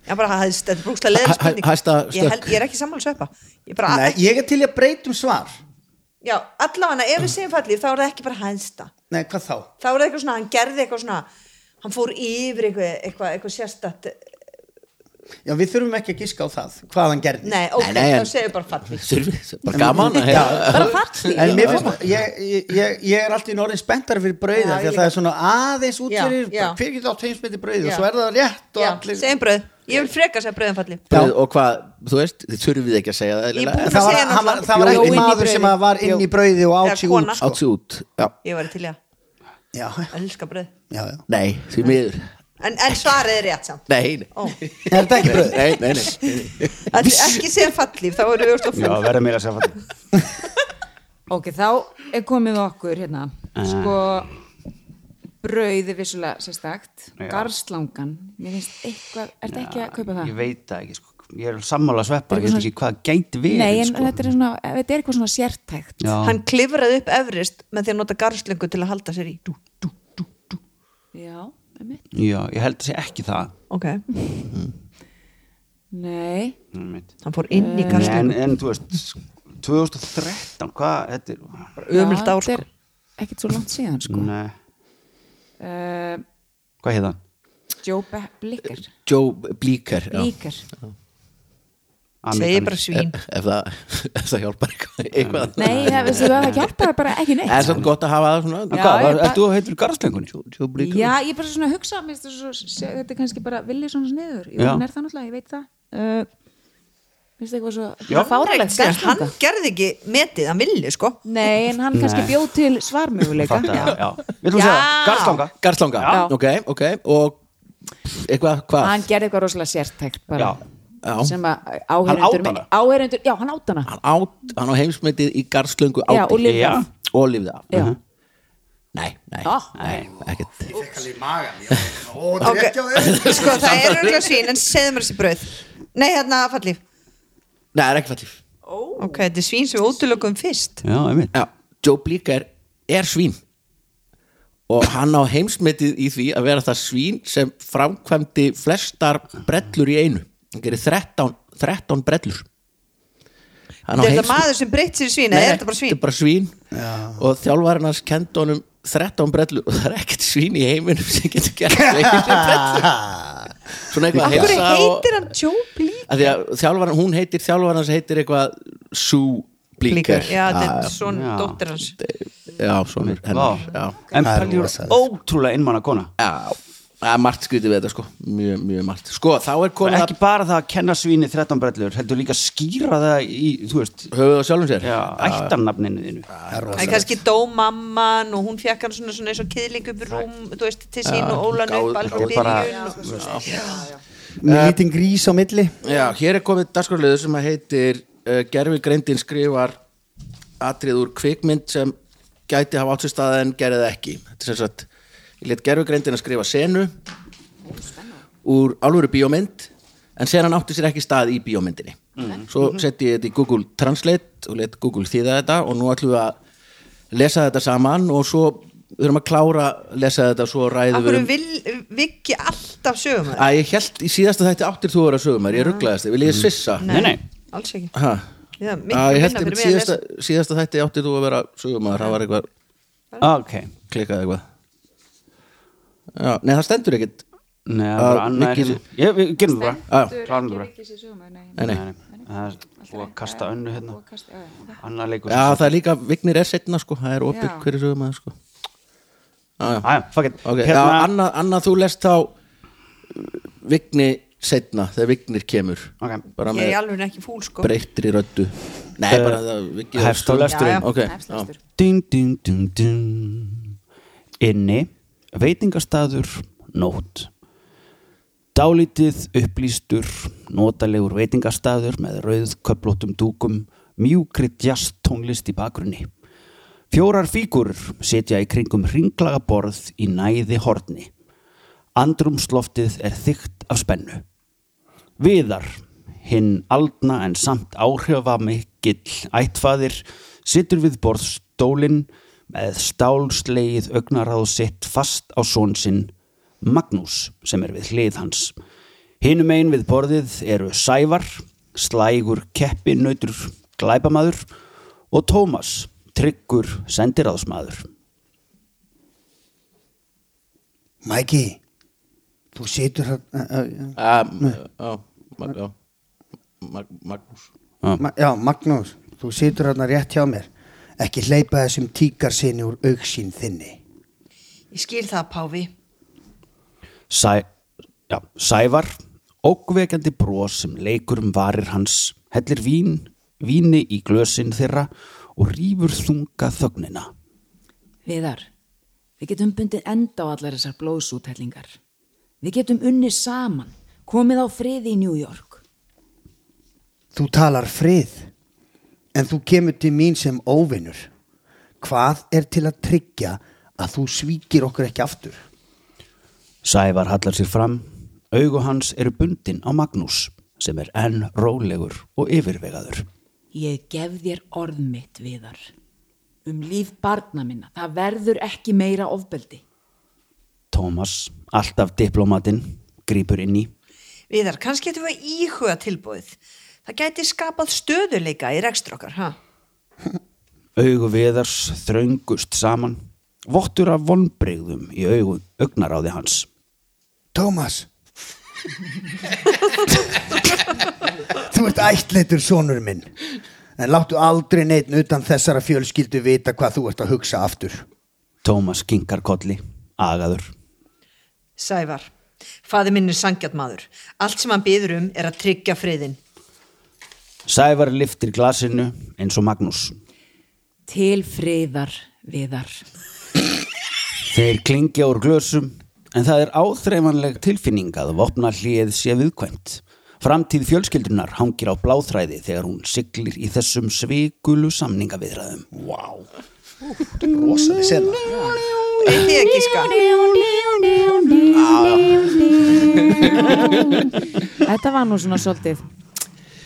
H: Já, bara, hæ- þetta er brúkslega leðið
B: Hæ- hæ-
H: spurning
B: hæsta
H: ég, held-
B: stökk.
H: ég er ekki sammála sveppa Ég bara,
E: nei, ég er til í að breytum svar
H: Já, allavega, ef við segjum fallið þá er það ekki bara hæsta
E: nei, hvað þá?
H: Þá er það eitthvað svona, hann gerði eitthvað svona Hann fór yfir eitthvað, eitthvað, eitthvað sérstætt
E: já, við þurfum ekki að giska á það hvað hann gerði
H: Nei, ok,
B: Nei, nei, en-
H: þá segjum við bara
B: [laughs]
H: fallið
B: Þurfi- Bara gaman að heyra.
H: Bara fallið
E: En mér finnst, ég, ég, ég, ég er alltaf í norðin spenntari fyrir brauða því
H: Já, ég
E: að það er svona aðeins út
H: Já,
E: fyrir
H: já.
E: bara, hver getur átt heimsmyndi brauð og
H: Já.
E: svo er það rétt og
H: Já,
E: allir
H: segjum bröð Ég vil freka segja bröðum fallið
B: Brauð Og hvað, þú veist, þið þurfið ekki að segja það
H: Ég er
B: eðlilega.
H: búin
E: það
H: að
E: var,
H: segja
E: hann var,
H: náttúrulega.
E: það var ekki
H: Bjó inn í
E: maður sem
H: brauðið.
E: að var inn í brauði og
H: Eða
E: átt sig
H: kona.
E: út sko.
B: Átt sig út Já,
H: Ég var til í að
E: já,
H: elska bröð
E: já, já.
B: nei, því miður
H: En, en svarið er rétt samt
B: Nei, nei
H: Ó.
E: er þetta ekki brauð?
B: Nei, nei, nei
H: Að því Ekki segjum fallið, þá erum við úrst á
D: Já,
H: fund
D: verða meira að segja fallið
C: Ok, þá er komið að okkur hérna
D: Eh.
C: sko brauð er vissulega sérstakt
D: Já.
C: garðslangan, mér finnst eitthvað er þetta ekki að kaupa það?
D: Ég veit það ekki, sko Ég er sammála sveppa, ég veit
C: Svona-
D: ekki hvað gæti verið
C: Nei, en
D: sko.
C: þetta, er svona, þetta er eitthvað svona sértækt
D: Já,
H: Hann klifraði upp Everest með því að nota garslöngu til að halda sér í Dú, dú, dú, dú.
C: Já, einmitt.
D: já, ég held að segja ekki það
H: Ok,
C: Nei,
D: Einmitt.
H: hann fór inn í
D: Nei, En,
H: garslöngu
D: en þú veist 2013, hvað, þetta er
H: Ömult
C: Já, þetta
H: ár sko
C: er ekkert svo langt síðan sko.
D: Nei,
C: uh,
D: hvað heita hann?
C: Joe Be- Blicker
B: Joe Blíker já.
C: Blicker
H: Segir bara svín
B: ef, ef, það, ef það hjálpar eitthvað, eitthvað.
C: Nei, það, veistu hvað, það hjálpar bara ekki neitt
B: Það er samt gott að hafa það svona
C: Já,
D: Hvað, var-
C: ég bara-
D: ert þú heitur í garðslöngunni?
B: Tjóblíkur.
C: Já, ég bara svona hugsa mér finnst þetta svo, se- þetta er kannski bara villið svona sniður, jú,
D: Já.
C: hann er það náttúrulega, ég veit það uh, Minnst eitthvað svo
D: Já.
C: fáralegt
H: Hann
C: garðslanga
H: gerði ekki metið, hann villi sko
C: Nei, en hann kannski
D: Nei.
C: bjóð til svarmöguleika
D: Fatta, já. Við ætlum að segja,
C: Já.
D: garðslanga
B: Garslanga,
D: Já.
B: ok, ok og eitthvað, hvað
C: Hann gerði eitthvað rosalega sértækt bara,
D: Já.
B: Já.
C: sem að
D: Hann át
C: áheyrendur
D: hana.
C: áheyrendur, já, hann át hana
B: hann, át, hann á heimsmyndið í garslöngu
C: Já, og
B: áti
C: lifði
D: Já.
C: af.
B: og lifði af
C: Já.
B: nei, nei,
C: Ah.
B: nei, ekkert
E: Kallir magan, já. Ó,
H: Ok.
E: drekja þau.
H: Sko það er örgulega svín en segðu mér þessi brauð Nei hérna fallið
B: nei, það er ekki fallið
H: Ok, þetta er svín sem við útlökum fyrst
D: Já, einmitt
B: Já, Joe Blíker er svín og hann á heimsmetið í því að vera það svín sem framkvæmdi flestar brellur í einu hann gerir 13, 13 brellur hann sko.
H: Þetta er þetta maður sem breytt sér í svín eða er þetta bara
B: Þetta
H: svín?
B: er bara svín og þjálfarinn hans kendi honum 13 brellur og það er ekkert svín í heiminum sem getur gert fleiri
H: [laughs]
B: brellur svona eitthvað að
H: Af hverju
B: heilsa og-
H: heitir hann Joe Blík?
B: Af því að þjálfarinn, hún heitir þjálfarinn hans heitir eitthvað Sue Blíker
H: Já, þetta er
B: Ah,
H: svona
D: Já.
H: dóttir hans
B: já, svona hennar já.
D: Vá. En
E: Það er
D: pældi
E: rosalegt.
D: hún ótrúlega einmann að kona
B: Já, það er margt skrítið við þetta sko Mjög, mjög margt Sko, þá er
D: Og
B: komið
D: ekki bara það að kenna svíni 13 brellur heldur líka að skýra það í, þú veist
B: að höfuð á sjálfum sér
D: já, ættarnafninu þínu
E: Það er
H: Það er
E: rosalegt.
H: kannski dó mamman og hún fekk hann svona, svona eins og kýðling upp í rúm þú veist, til sín og ólan
B: gáð-
H: upp alveg
B: þetta
H: frá
B: er
H: byrjun
D: bara-
H: og,
E: Með lítinn grís á milli.
B: Já, hér er komið dagskorliður sem að heitir uh, Gerfi Greindin skrifar atrið úr kvikmynd sem gæti hafa átt sér stað en gerði það ekki Þetta er sem sagt Ég let Gerfi Greindin að skrifa senu úr alvöru bíómynd en senan átti sér ekki stað í bíómyndinni svo setti ég þetta í Google Translate og let Google þýða þetta og nú ætlum við að lesa þetta saman og svo við erum að klára að lesa þetta svo ræðum
H: Af
B: við
H: hverju
B: um
H: vil, vikki alltaf sögum það?
B: að ég held í síðasta þætti áttir þú voru að sögum þær, ég rugglaðist þig, vil ég svissa
D: Nei, nei,
H: Alls ekki
B: Ha?
H: Já, miklu
B: Að ég
H: minna
B: held
H: fyrir sko.
B: einmitt
H: mig að
B: síðasta, síðasta þætti áttir þú að vera sögumæður, það var eitthvað
D: Ah, ok
B: klikkað eitthvað Já, nei það stendur ekkit
D: Nei, það
B: Að
D: var annað
B: Ah, Nikki- Ah.
D: ekki Ég, við gerum það bara
B: Já.
D: Klárum það bara.
C: Ekki sögumæður, nei,
B: Nei, nei.
D: Nei, nei, Það er búið að kasta önnu hérna
C: Og kast- já, já.
D: Annað leikur
B: Já, það er líka, Vignir er setna sko, það er opið
C: Já.
B: hverju sögumæður sko
D: Æja, fuck it
B: Ok,
D: Hérna-
B: já, annað, annað þú lest þá uh, Vigni setna þegar Vignir kemur
D: Ok.
B: bara
H: Ég er í
B: með
H: alveg ekki fúl sko
B: breyttri röddu Nei,
D: Eh,
B: bara það Viggi
D: hefst á lesturinn.
B: Ok,
C: Hefst
B: já.
C: lestur.
D: Ding, ding, ding, ding. Inni, veitingastaður, nótt. Dálítið upplýstur, notalegur veitingastaður með rauð köplótum dúkum, mjúkri djast tónlist í bakgrunni. Fjórar fígurur setja í kringum ringlaga borð í næði horni. Andrumsloftið er þygt af spennu. Viðar, hinn aldna en samt áhrifa mikill ættfaðir, situr við borðstólinn með stálslegið augnaráð sitt fast á són sinn Magnús sem er við hlið hans. Hinum einn við borðið eru Sævar, slægur keppinautur glæpamaður og Tómas, tryggur sendiráðsmaður.
E: Mæki, þú situr eh, hann...
B: Um, já, Mag- já. Mag- Magnús
E: Ma- Já, Magnús, þú situr hérna rétt hjá mér ekki hleypa þessum tíkarsinni úr auksín þinni
H: Ég skil það Páfi
D: Sæ, já, Sævar, ókvekjandi bros sem leikur um varir hans, hellir vín, víni í glösin þeirra og rýfur þunga þögnina.
C: Viðar, við getum bundið enda á allar þessar blóðsúthellingar. Við getum unnið saman, komið á friði í New York.
E: þú talar frið en þú kemur til mín sem óvinnur hvað er til að tryggja að þú svíkir okkur ekki aftur
D: Sævar hallar sér fram, augu hans eru bundin á Magnús sem er enn rólegur og yfirvegaður.
C: Ég gef þér orð mitt, Viðar. Um líf barna minna, það verður ekki meira ofbeldi.
D: Tómas, alltaf diplomatinn, grípur inn í.
H: Viðar, kannski getum við íhuga tilbúið Það gæti skapað stöðuleika í rekstur okkar ha?
D: Augu viðars þröngust saman, vottur af vonbrigðum í augu augnaráði hans.
E: Tómas þú [laughs] Þú ert ættleitur sonur minn En láttu aldrei neitt utan þessara fjölskyldu vita hvað þú ert að hugsa aftur
D: Tómas kinkar kolli, agaður
H: Sævar, faði minn er sangjart maður. Allt sem hann byður um er að tryggja friðin.
D: Sævar liftir glasinu eins og Magnús
C: Til friðar, viðar.
D: Þeir klingja úr glösum en það er áþreifanleg tilfinning að vopna hlið sé viðkvæmt Framtíð fjölskyldunar hangir á bláþræði þegar hún siglir í þessum svikulu samningaviðræðum
E: Vá Þetta er rosalega sena
H: Eitt ég ekki sko. ská.
G: Þetta var nú svona svolítið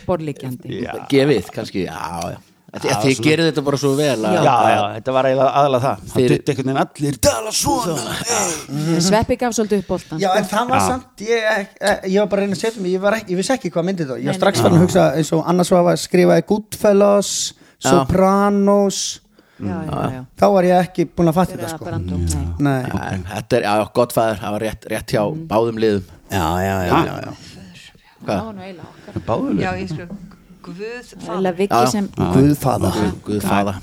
G: borlíkjandi
B: gefið kannski, já, já Þið, þið gerir þetta bara svo vel að,
D: Já, já, þetta var eiginlega aðalega það Það
B: Fyrir-
D: dutt einhvern veginn allir tala svona
C: Mm.
G: Sveppi gaf svolítið upp boltan
E: Já, en það var samt, ég, ég, ég var bara að reyna að setja mig, ég, var ekki, ég vissi ekki hvað myndið það. Ég var strax fann að hugsa eins og annars var að skrifa Goodfellas, Sopranos,
G: já, já, já.
E: þá var ég ekki búin að fatta
G: Fyrir
E: þetta
G: að
E: sko.
G: branda upp, nei.
E: Nei.
B: en þetta er, já, já, gott fæður það var rétt, rétt hjá báðum liðum
E: Já, já, já, já, já.
G: Það var nú eiginlega okkar.
H: Já, ég skil. Guð,
G: Það er
H: faði.
G: eiginlega Viki
B: Já, já.
G: sem
E: Guðfaða.
B: Guð, Guð fæða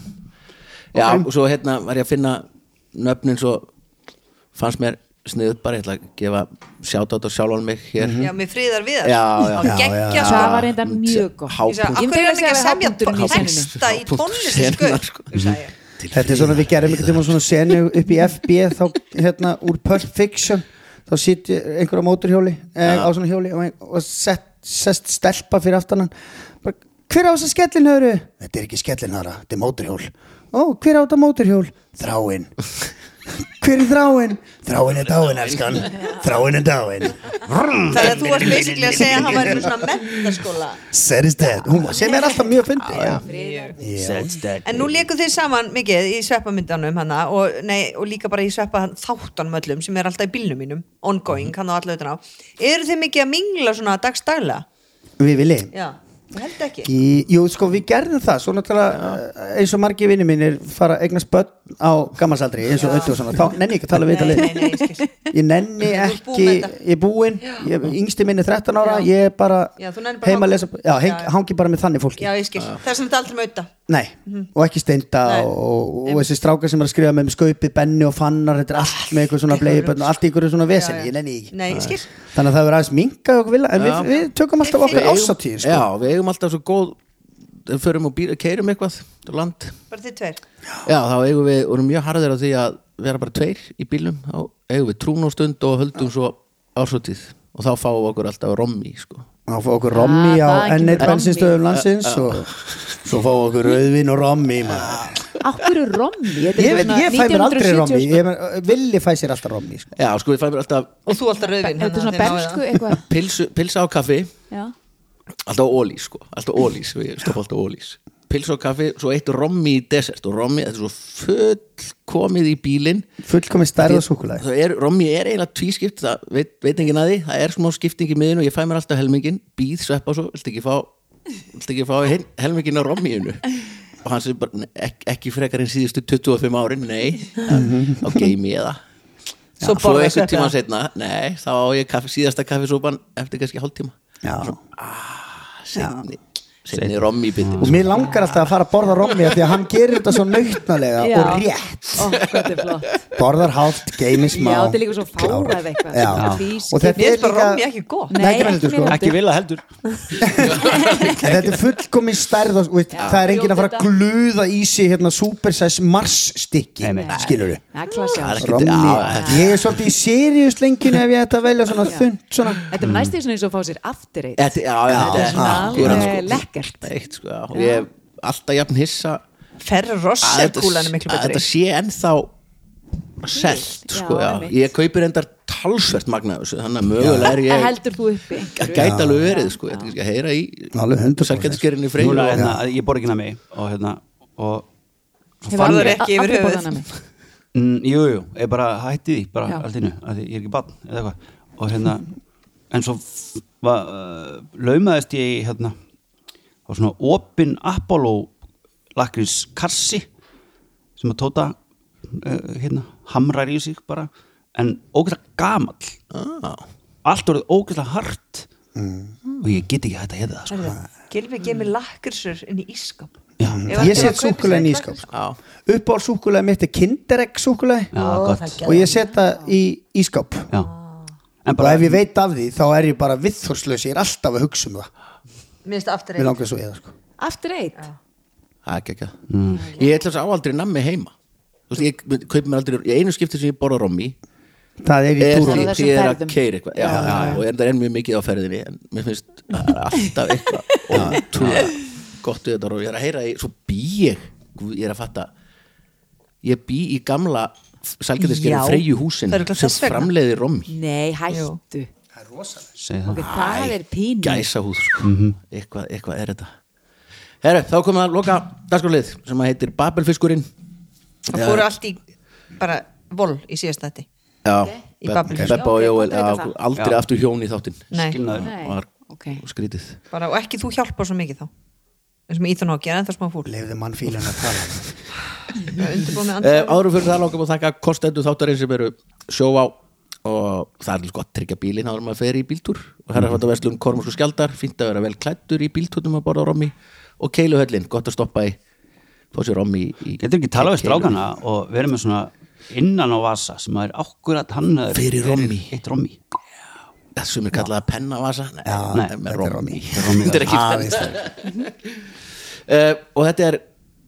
B: Já, og svo hérna var ég að finna nöfnin svo fannst mér sniðut bara, ég ætla að gefa sjátátt og sjálfan mig hér
H: Já, með friðar viðar.
B: Já, já.
H: Á geggja
G: það
H: sko.
G: var reyndar mjög gott
H: Ég sagði,
B: Hápunktur
H: akkur er hann ekki að semja
G: Hápunkturinn í senunni.
H: texta í
B: Hápunktur
H: tónlist
B: senunnar,
H: sko.
B: sko.
H: Hugsaði ég.
E: Þetta er svona, við gerum einhvern tíma svona senu upp í FB, þá hérna úr Pulp Fiction, þá sitt einhver á móturhjóli, eh, á svona hjóli og, ein- og sett, sett stelpa fyrir aftan hann. Bara, Hver á þessa skellinhöru? Þetta er ekki skellinhöra, þetta er móturhjól. Ó, hver á þetta móturhjól? Þráinn. Hver er þráinn? Þráinn er dáinn, elskan. Þráinn er dáinn.
H: Þannig að þú varst basically að segja að hann væri með svona mentaskóla
E: Said is dead. Hún, sem er alltaf mjög fyndið. Já,
D: That's that
H: En nú leikum þeir saman mikið í sveppamyndanum hana og, nei, og líka bara í sveppa þáttanum öllum sem er alltaf í bílnum mínum
B: Mhm.
H: ongoing, hann á alla utan á Eru þeir mikið að mingla svona dagstagla?
E: Við viljum.
H: Já, ég held ekki
E: Í, jú, sko, við gerðum það Svo náttúrulega eh, eins og margir vinnir mínir fara að eignast börn á gammalsaldri eins og öttu og svona, þá nenni ég ekki að tala við
H: Nei,
E: þetta
H: nei, nei, ég skil.
E: lið Ég nenni
H: Þú ert búin
E: ekki,
H: með þetta.
E: ég er búinn ég, yngsti minni 13 ára,
H: Já.
E: ég er bara,
H: Já, þú nennir bara
E: heima
H: að
E: að lesa
H: hanga.
E: Já, heng,
H: Já, já.
E: hangi bara með þannig fólki
H: Já, ég skil, þess að þetta aldrei með auðvitað
E: Nei, og ekki steinda
H: Nei.
E: og, og, og þessi strákar sem er að skrifa með um skaupið, benni og fannar, þetta er allt með eitthvað svona bleiðbönn og allt í einhverju svona vesen,
H: Já, já.
E: ég nenni ekki Ah.
H: Nei, ég skil
E: Þannig að það verður aðeins minkað og vilja, en við, við tökum alltaf
B: Við
E: okkar
B: eigum-
E: ásatíð sko.
B: Já, við eigum alltaf svo góð við förum og býra, keirum eitthvað út á land
H: Bara þið tveir
B: Já, þá eigum við, vorum mjög harðir á því að vera bara tveir í bílum þá eigum við trúnóstund og höldum svo ásótið og þá fáum við okkur alltaf rommi sko.
E: Ná fá okkur rommi
G: Ah, það
E: á N1
G: kemur
E: bensinstöðum landsins
G: uh,
E: og svo fá okkur rauðvin og rommi
G: Ah,
E: maður.
G: Akkur er rommi Þetta er
E: Ég veit,
G: svona
E: ég fæ mér aldrei
G: 1970
E: rommi Ég meina, uh, Villi fæ sér alltaf rommi sko.
B: Já, sko, við fæðum alltaf
H: Og þú alltaf hérna, rauðin
G: Þetta er svona bernsku eitthvað
B: pilsu, pilsa á kaffi
G: Já.
B: alltaf ólís sko, alltaf ólís við stoppa alltaf ólís pilsa og kaffi, svo eitt rommi í desert og rommi, þetta er svo fullkomið í bílinn
E: Fullkomi stærð og súkulæði
B: Það er, Rommi er eiginlega tvískipt það veit, veit enginn að því, það er smá skipting í miðinu og ég fæ mér alltaf helmingin, býð sveppa svo vilt ekki fá, vilt ekki fá hin- helmingin á Rommiinu og hann sem bara, "Nei, ek, ekki frekar en síðustu 25 árin, nei þá geim ég það
H: Svo
B: svo
H: borðar
B: einhvern tíma
H: sveppa.
B: setna, nei þá á ég kaffi, síðasta kaffisópan eftir kannski hálftíma,
E: Já.
B: setni setni Rommi bindi
E: Og mér langar alltaf að fara að borða rommi af því að hann gerir þetta svo nautnalega
G: Já.
E: og rétt
G: Ó, hvað þetta er flott
E: Borðar hátt, geimi smá
G: Já, þetta er líka svo fágað
E: klárar.
G: eitthvað.
E: Já.
G: Tvískipt.
E: Og þetta
H: Mér
E: er
H: finnst bara
E: líka
H: rommi ekki
E: [laughs]
H: gott
E: Nei, ekki heldur, sko.
D: Ekki vilja heldur
E: En Þetta er fullkomi stærð og, veist, Það er enginn að fara að gluða í sig hérna, supersize mars stykki
D: Nei, nei.
E: Skilur við
G: Það er klassi
B: Það er ekki-
E: Rommi,
B: Já,
E: ég er svolítið í seriust lengjunni ef ég ætti að velja svona þund svona.
G: Þetta er næstíð svona eins og að fá sér aftur eitt
B: Þetta, já, já,
G: Þetta er svona
B: já,
G: alveg
B: já, sko.
G: lekkert.
B: Eitt, sko, já. og ég hef alltaf jafn hissa
E: Mm.
H: Ferra
B: að
E: Ah,
H: rosselkúlan er
B: að
H: miklu betri
B: þetta sé ennþá selt
G: Já,
B: sko, já,
G: einmitt.
B: ég kaupir endar talsvert magna af þessu, þannig að mögulega er
G: Það
B: ég
G: heldur þú uppi
B: að gæta alveg verið sko, ég ætla ekki að heyra
E: Alveg
B: í
E: 100%.
B: sælgætisgerinni freyju
D: Núna,
B: og-
D: hérna, ég bor ekki nami og hérna og
H: Farðu ekki yfir höfuð.
D: Mm, jú, jú, ég bara hætti því bara
G: Já.
D: allt innu, að því ég er ekki barn eða eitthvað, og hérna en svo f- var, uh, laumaðist ég í, hérna á svona opin Apollo lakrins kassi sem að tóta uh, hérna, hamrar í sig bara en ógæslega gamall
B: Á,
E: Ah.
D: allt orðið ógæslega hart og ég get ekki hætt að hefða það sko.
H: Gilvi gemir lakkursur inn í ískap
E: Mm. Ég set súkulegin í ískáp
B: Já.
E: Uppáhald súkulegin mitt er kinderegg súkuleg
D: Já, gott.
E: og ég set það í ískáp
D: já. En
E: og
D: bara,
E: ef ég veit af því þá er ég bara viðþórslaus ég er alltaf að hugsa um það
H: Mér finnst aftur
E: Mér
H: einn
E: langar svo eða sko
G: Aftur eitt
B: Það er ekki ekki
D: Mm.
B: Ég ætla þess að á aldrei nammi heima Þú veist, ég mun- kaupi mér aldrei Í einu skipti sem ég borða rommi
E: Það er í
B: Er
E: túrum
B: því því
C: þessum
B: ég er að
C: ferðum.
B: keira eitthvað já, já, Og er það enn mjög mikið á ferðinni En mér finnst það er alltaf
H: [laughs]
B: eitthvað Ótrúlega gott við þetta rommi Ég er að heyra, í- svo bý ég Guð, Ég er að fatta Ég bý í gamla
H: Já.
B: sælgætiskerum Freyju
H: Það
B: húsin
H: er örugglega
B: sem
H: þess vegna.
B: framleiði rommi
C: Nei, hættu
D: segi það
C: Ok, Það er pínu
B: Gæsa húð sko.
D: Mhm.
B: eitthvað, eitthvað er þetta Herru, þá komum við að loka dagskorlið sem að heitir Babelfiskurinn
H: Það fóru allt í bara vol í síðast þetta
B: Já,
H: Í
B: Be-
H: Babylon.
B: Bebba og
G: Ok,
B: Jóel
G: gott að vita
B: já,
G: það.
B: aldrei
D: Já.
B: aftur hjón í þáttinn
H: Nei.
D: Skilnaður.
B: Það
C: Nei,
B: var
C: ok.
B: skrítið
H: bara, og ekki þú hjálpar svo mikið þá eins og með Íþun Hóki, en það smá fúl
E: Leifðu mann fílan að tala
H: undirbúið með
B: Eh,
H: andra
B: Áður fyrir það langar við að þakka kostendu þáttarinn sem eru sjóvá og það er líka gott að tryggja bílinn áður en maður fer í bíltúr og
D: Mhm.
B: herra fætt að verslum Kormos og Skjaldar fínt að vera vel klættur í bíltúrnum að borða rommi og keiluhöllin, gott að stoppa í fá sér rommi í, í
D: Getur ekki talað við strákana og verið með svona innan á vasa sem að er akkurat hann eh,
B: Fyrir rommi.
D: Eitt rommi
B: það sem er kallaða pennavasa
D: Nei,
B: Nei, það er
D: þetta
B: með
D: er
B: rommi
D: Rommi.
B: Þetta er ekki
E: Aðeins
B: penna Eh, og þetta er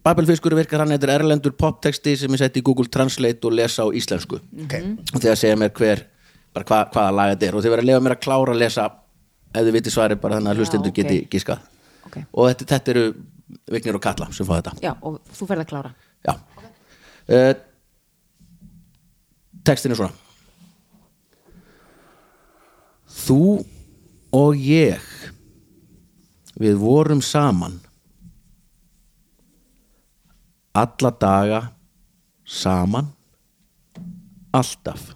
B: Babelfiskur virkar hann, þetta er erlendur poptexti sem ég sett í Google Translate og lesa á íslensku
E: Ok.
B: og þegar segja mér hver bara hva, hvaða lag þetta er og þeir verða að lefa mér að klára að lesa ef þið viti svarið bara þannig að
C: Já,
B: hlustendur
C: ok.
B: geti gískað
C: Ok.
B: og þetta, þetta eru Vignir og Kalla sem fá þetta
C: Já, og þú ferð að klára
B: Já okay. Textin er svona Þú og ég Við vorum saman Alla daga Saman Alltaf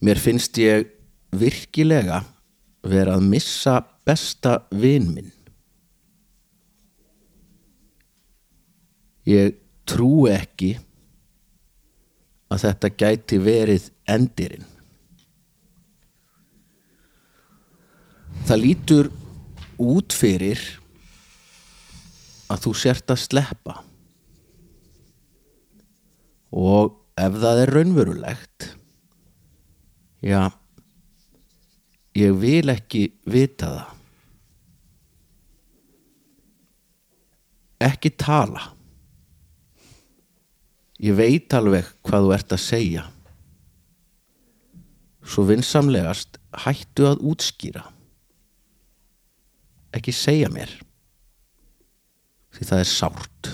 B: Mér finnst ég virkilega vera að missa besta vin minn Ég trúi ekki að þetta gæti verið endirinn. Það lítur út fyrir að þú sért að sleppa og ef það er raunverulegt já ég vil ekki vita það ekki tala Ég veit alveg hvað þú ert að segja. Svo vinsamlegast hættu að útskýra. Ekki segja mér. Því það er sárt.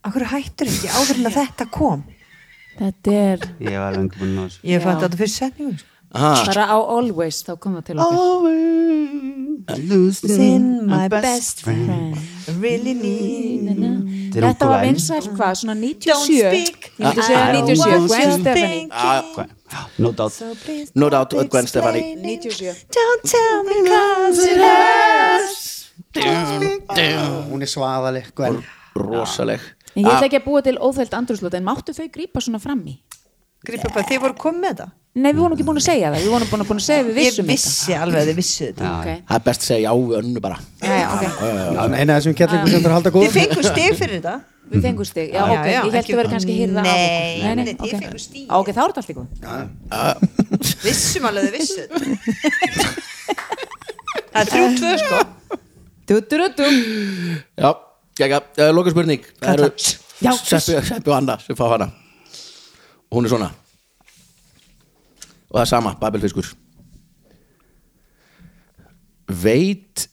H: Akkur hættur ekki áðurlega þetta kom
G: Þetta er
D: Ég var lengi búin að ná þessu
H: Ég fætti
C: Já.
H: þetta fyrir setningu sko.
C: Bara á Always, þá komum við til okkur
D: Always losing
H: Sin Oh, my best friend I really
C: Mm,
H: need
G: Mm.
D: Þetta er
C: Þetta var
D: útgóð
C: vinsæl hvað, svona
H: Don't
C: 97
H: speak
C: Ég
G: Ah,
C: myndi segja
D: I don't
C: 97,
D: want
C: Gwen
D: you
C: Stefani
D: læn. Ah, No doubt
H: So please
B: No
H: don't
B: doubt, Ah, Gwen
H: explain
B: Stefani.
H: it.
C: 97.
H: Don't tell me cause it hurts
E: Hún er svaðaleg sko, Gwen
B: Rosaleg.
G: En ég ætla
B: Ah.
G: ekki að búa til óþælt andrúslót en máttu þau grípa svona fram í?
H: Grípa bara, þið voru komið með þetta
G: Nei, við vorum ekki búin að segja það, við vorum búin að, búin að segja að við
H: Ég
G: vissum
H: vissi alveg að þið vissu þetta
D: Já,
C: Ok.
B: Það er best að segja já við önnu bara.
G: þetta. Já, já, ok,
E: Eina af þessum kjallingum sem það er að halda
H: Þið
E: góð
H: fengu stig fyrir þetta
G: við fengum stig, já,
H: Já,
G: ok, ég
H: já,
G: held
H: ekki-
G: að vera kannski að hýrða
H: Nei,
G: nei,
H: nei,
G: nei,
H: þið
G: ok,
H: fenguð stig.
G: Á, ok, þá er þetta allt í góð.
H: Vissum alveg að þið vissu þetta
B: [laughs]
H: Það er þrjú tvö sko
G: Dutturutum,
B: Já, gegga. Uh, Loka spurning. Það eru
G: Já.
B: Seppi, Seppi og Anna sem fá hana. Hún er svona. Og það er sama, Babelfiskur. Veit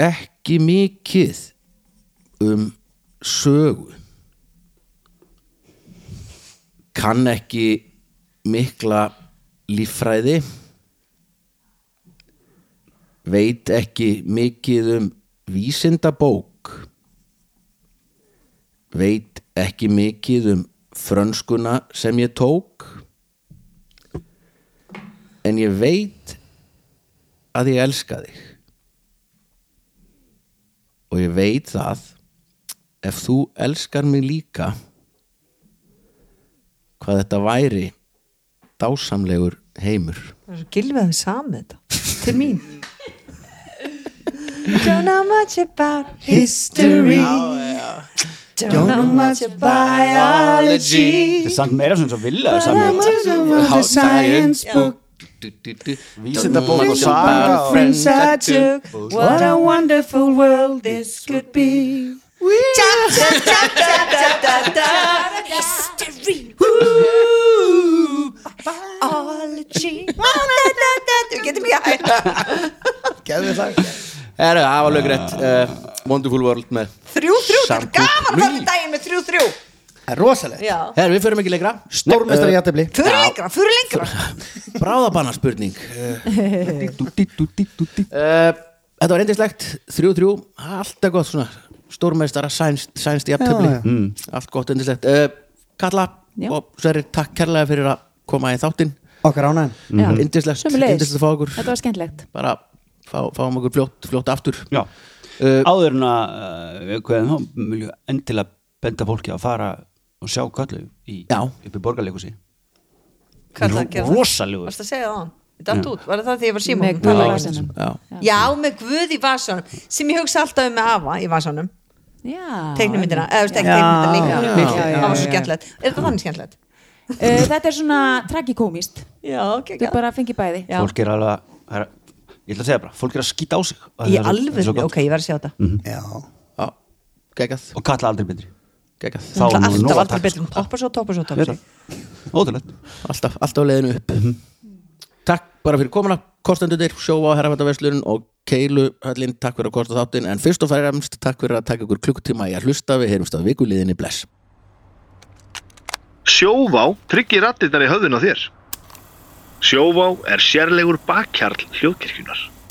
B: ekki mikið um sögu. Kann ekki mikla líffræði. Veit ekki mikið um vísindabók veit ekki mikið um frönskuna sem ég tók en ég veit að ég elska þig og ég veit það ef þú elskar mig líka hvað þetta væri dásamlegur heimur
H: [laughs] Það er svo gilfið að þið samið þetta Til mín Don't know much about
E: History
H: Don't know much about
D: Þetta er samt meira svona svo vilja saman
E: The science book
D: Vísindabók og saga og-
H: Friends I took What a wonderful world this could be [laughs] History Biology Við getum ekki hægt
E: Gæðu það
B: Herru, það var lögrætt uh, Wonderful World með
H: Þrjú, þrjú, þetta er
B: Samkvæmt
H: gaman
B: ný.
H: þannig daginn með þrjú, þrjú
E: Það er rosalegt
H: Já
B: Herru, við förum ekki lengra
E: Stórmestari jættefli
H: Fyrir lengra, fyrir lengra
B: Bráðabanna spurning Eh, Þetta var reyndislegt 3-3, alltaf gott svona Stórmeistara, sænst, sænst í
E: Já, já.
B: aftöfli mm. Allt gott endislegt uh, Kalla
G: Já.
B: og Sverri, takk kærlega fyrir að koma í þáttinn
E: Okkar ánæðan
G: Já.
B: Mhm. Yndislegt,
G: Sömuleiðis.
B: yndislegt að fá okkur
G: Þetta var skemmtlegt
B: Bara fá, fáum okkur fljótt, fljótt aftur
D: Já.
B: uh,
D: Áður en að uh, við kveðum þá viljum við endilega benda fólki að fara og sjá köllu í,
B: Já.
D: upp í borgarleikusi
H: Hvað er það að gera það?
D: Rosalegur.
H: Varst að segja það á hann? Þetta allt út, var það því ég var síma
G: Með guð í vasanum
B: Já,
H: Já, með guð í vasanum sem ég hugsa alltaf um að hafa í vasanum
G: Já,
H: teiknumyndina, eða þú veist ekki
E: Já,
H: teiknumyndina líka
G: já, já,
H: það var svo
G: já, já.
H: skemmtilegt, er þetta þannig skemmtilegt?
G: einmitt. Eh, Þetta er svona tragikómist
H: Já, ok,
G: Þú bara fengið bæði Já.
D: Fólk er alveg að- það er að- Ég ætla að segja bara, fólk er að skýta á sig Og
H: Í
D: það er svo- það er
H: alveg,
D: svo gott.
H: ok, ég verð að sjá þetta
E: Já
B: já, geggjað,
D: Og kalla aldrei betri
B: geggjað
D: Þá
H: Það
D: er
H: er
D: nú nóg
H: alltaf
D: að
H: aldrei
D: taka,
H: betur,
D: sko.
H: toppar svo, toppar svo, toppar
D: Þetta,
H: svo
D: ótrúlegt
B: alltaf, alltaf á leiðinu upp Mhm. Takk bara fyrir komuna Kostendunir, sjóa á herrafættaverslun og Keilu Höllin, takk fyrir að kosta þáttinn en fyrst og fremst, takk fyrir að taka ykkur klukkutíma í að hlusta, við heyrumst að vikuliðinni bless
A: Sjóvá tryggir rattirnar í höfðun á þér. Sjóvá er sérlegur bakkjarl hljóðkirkjunar.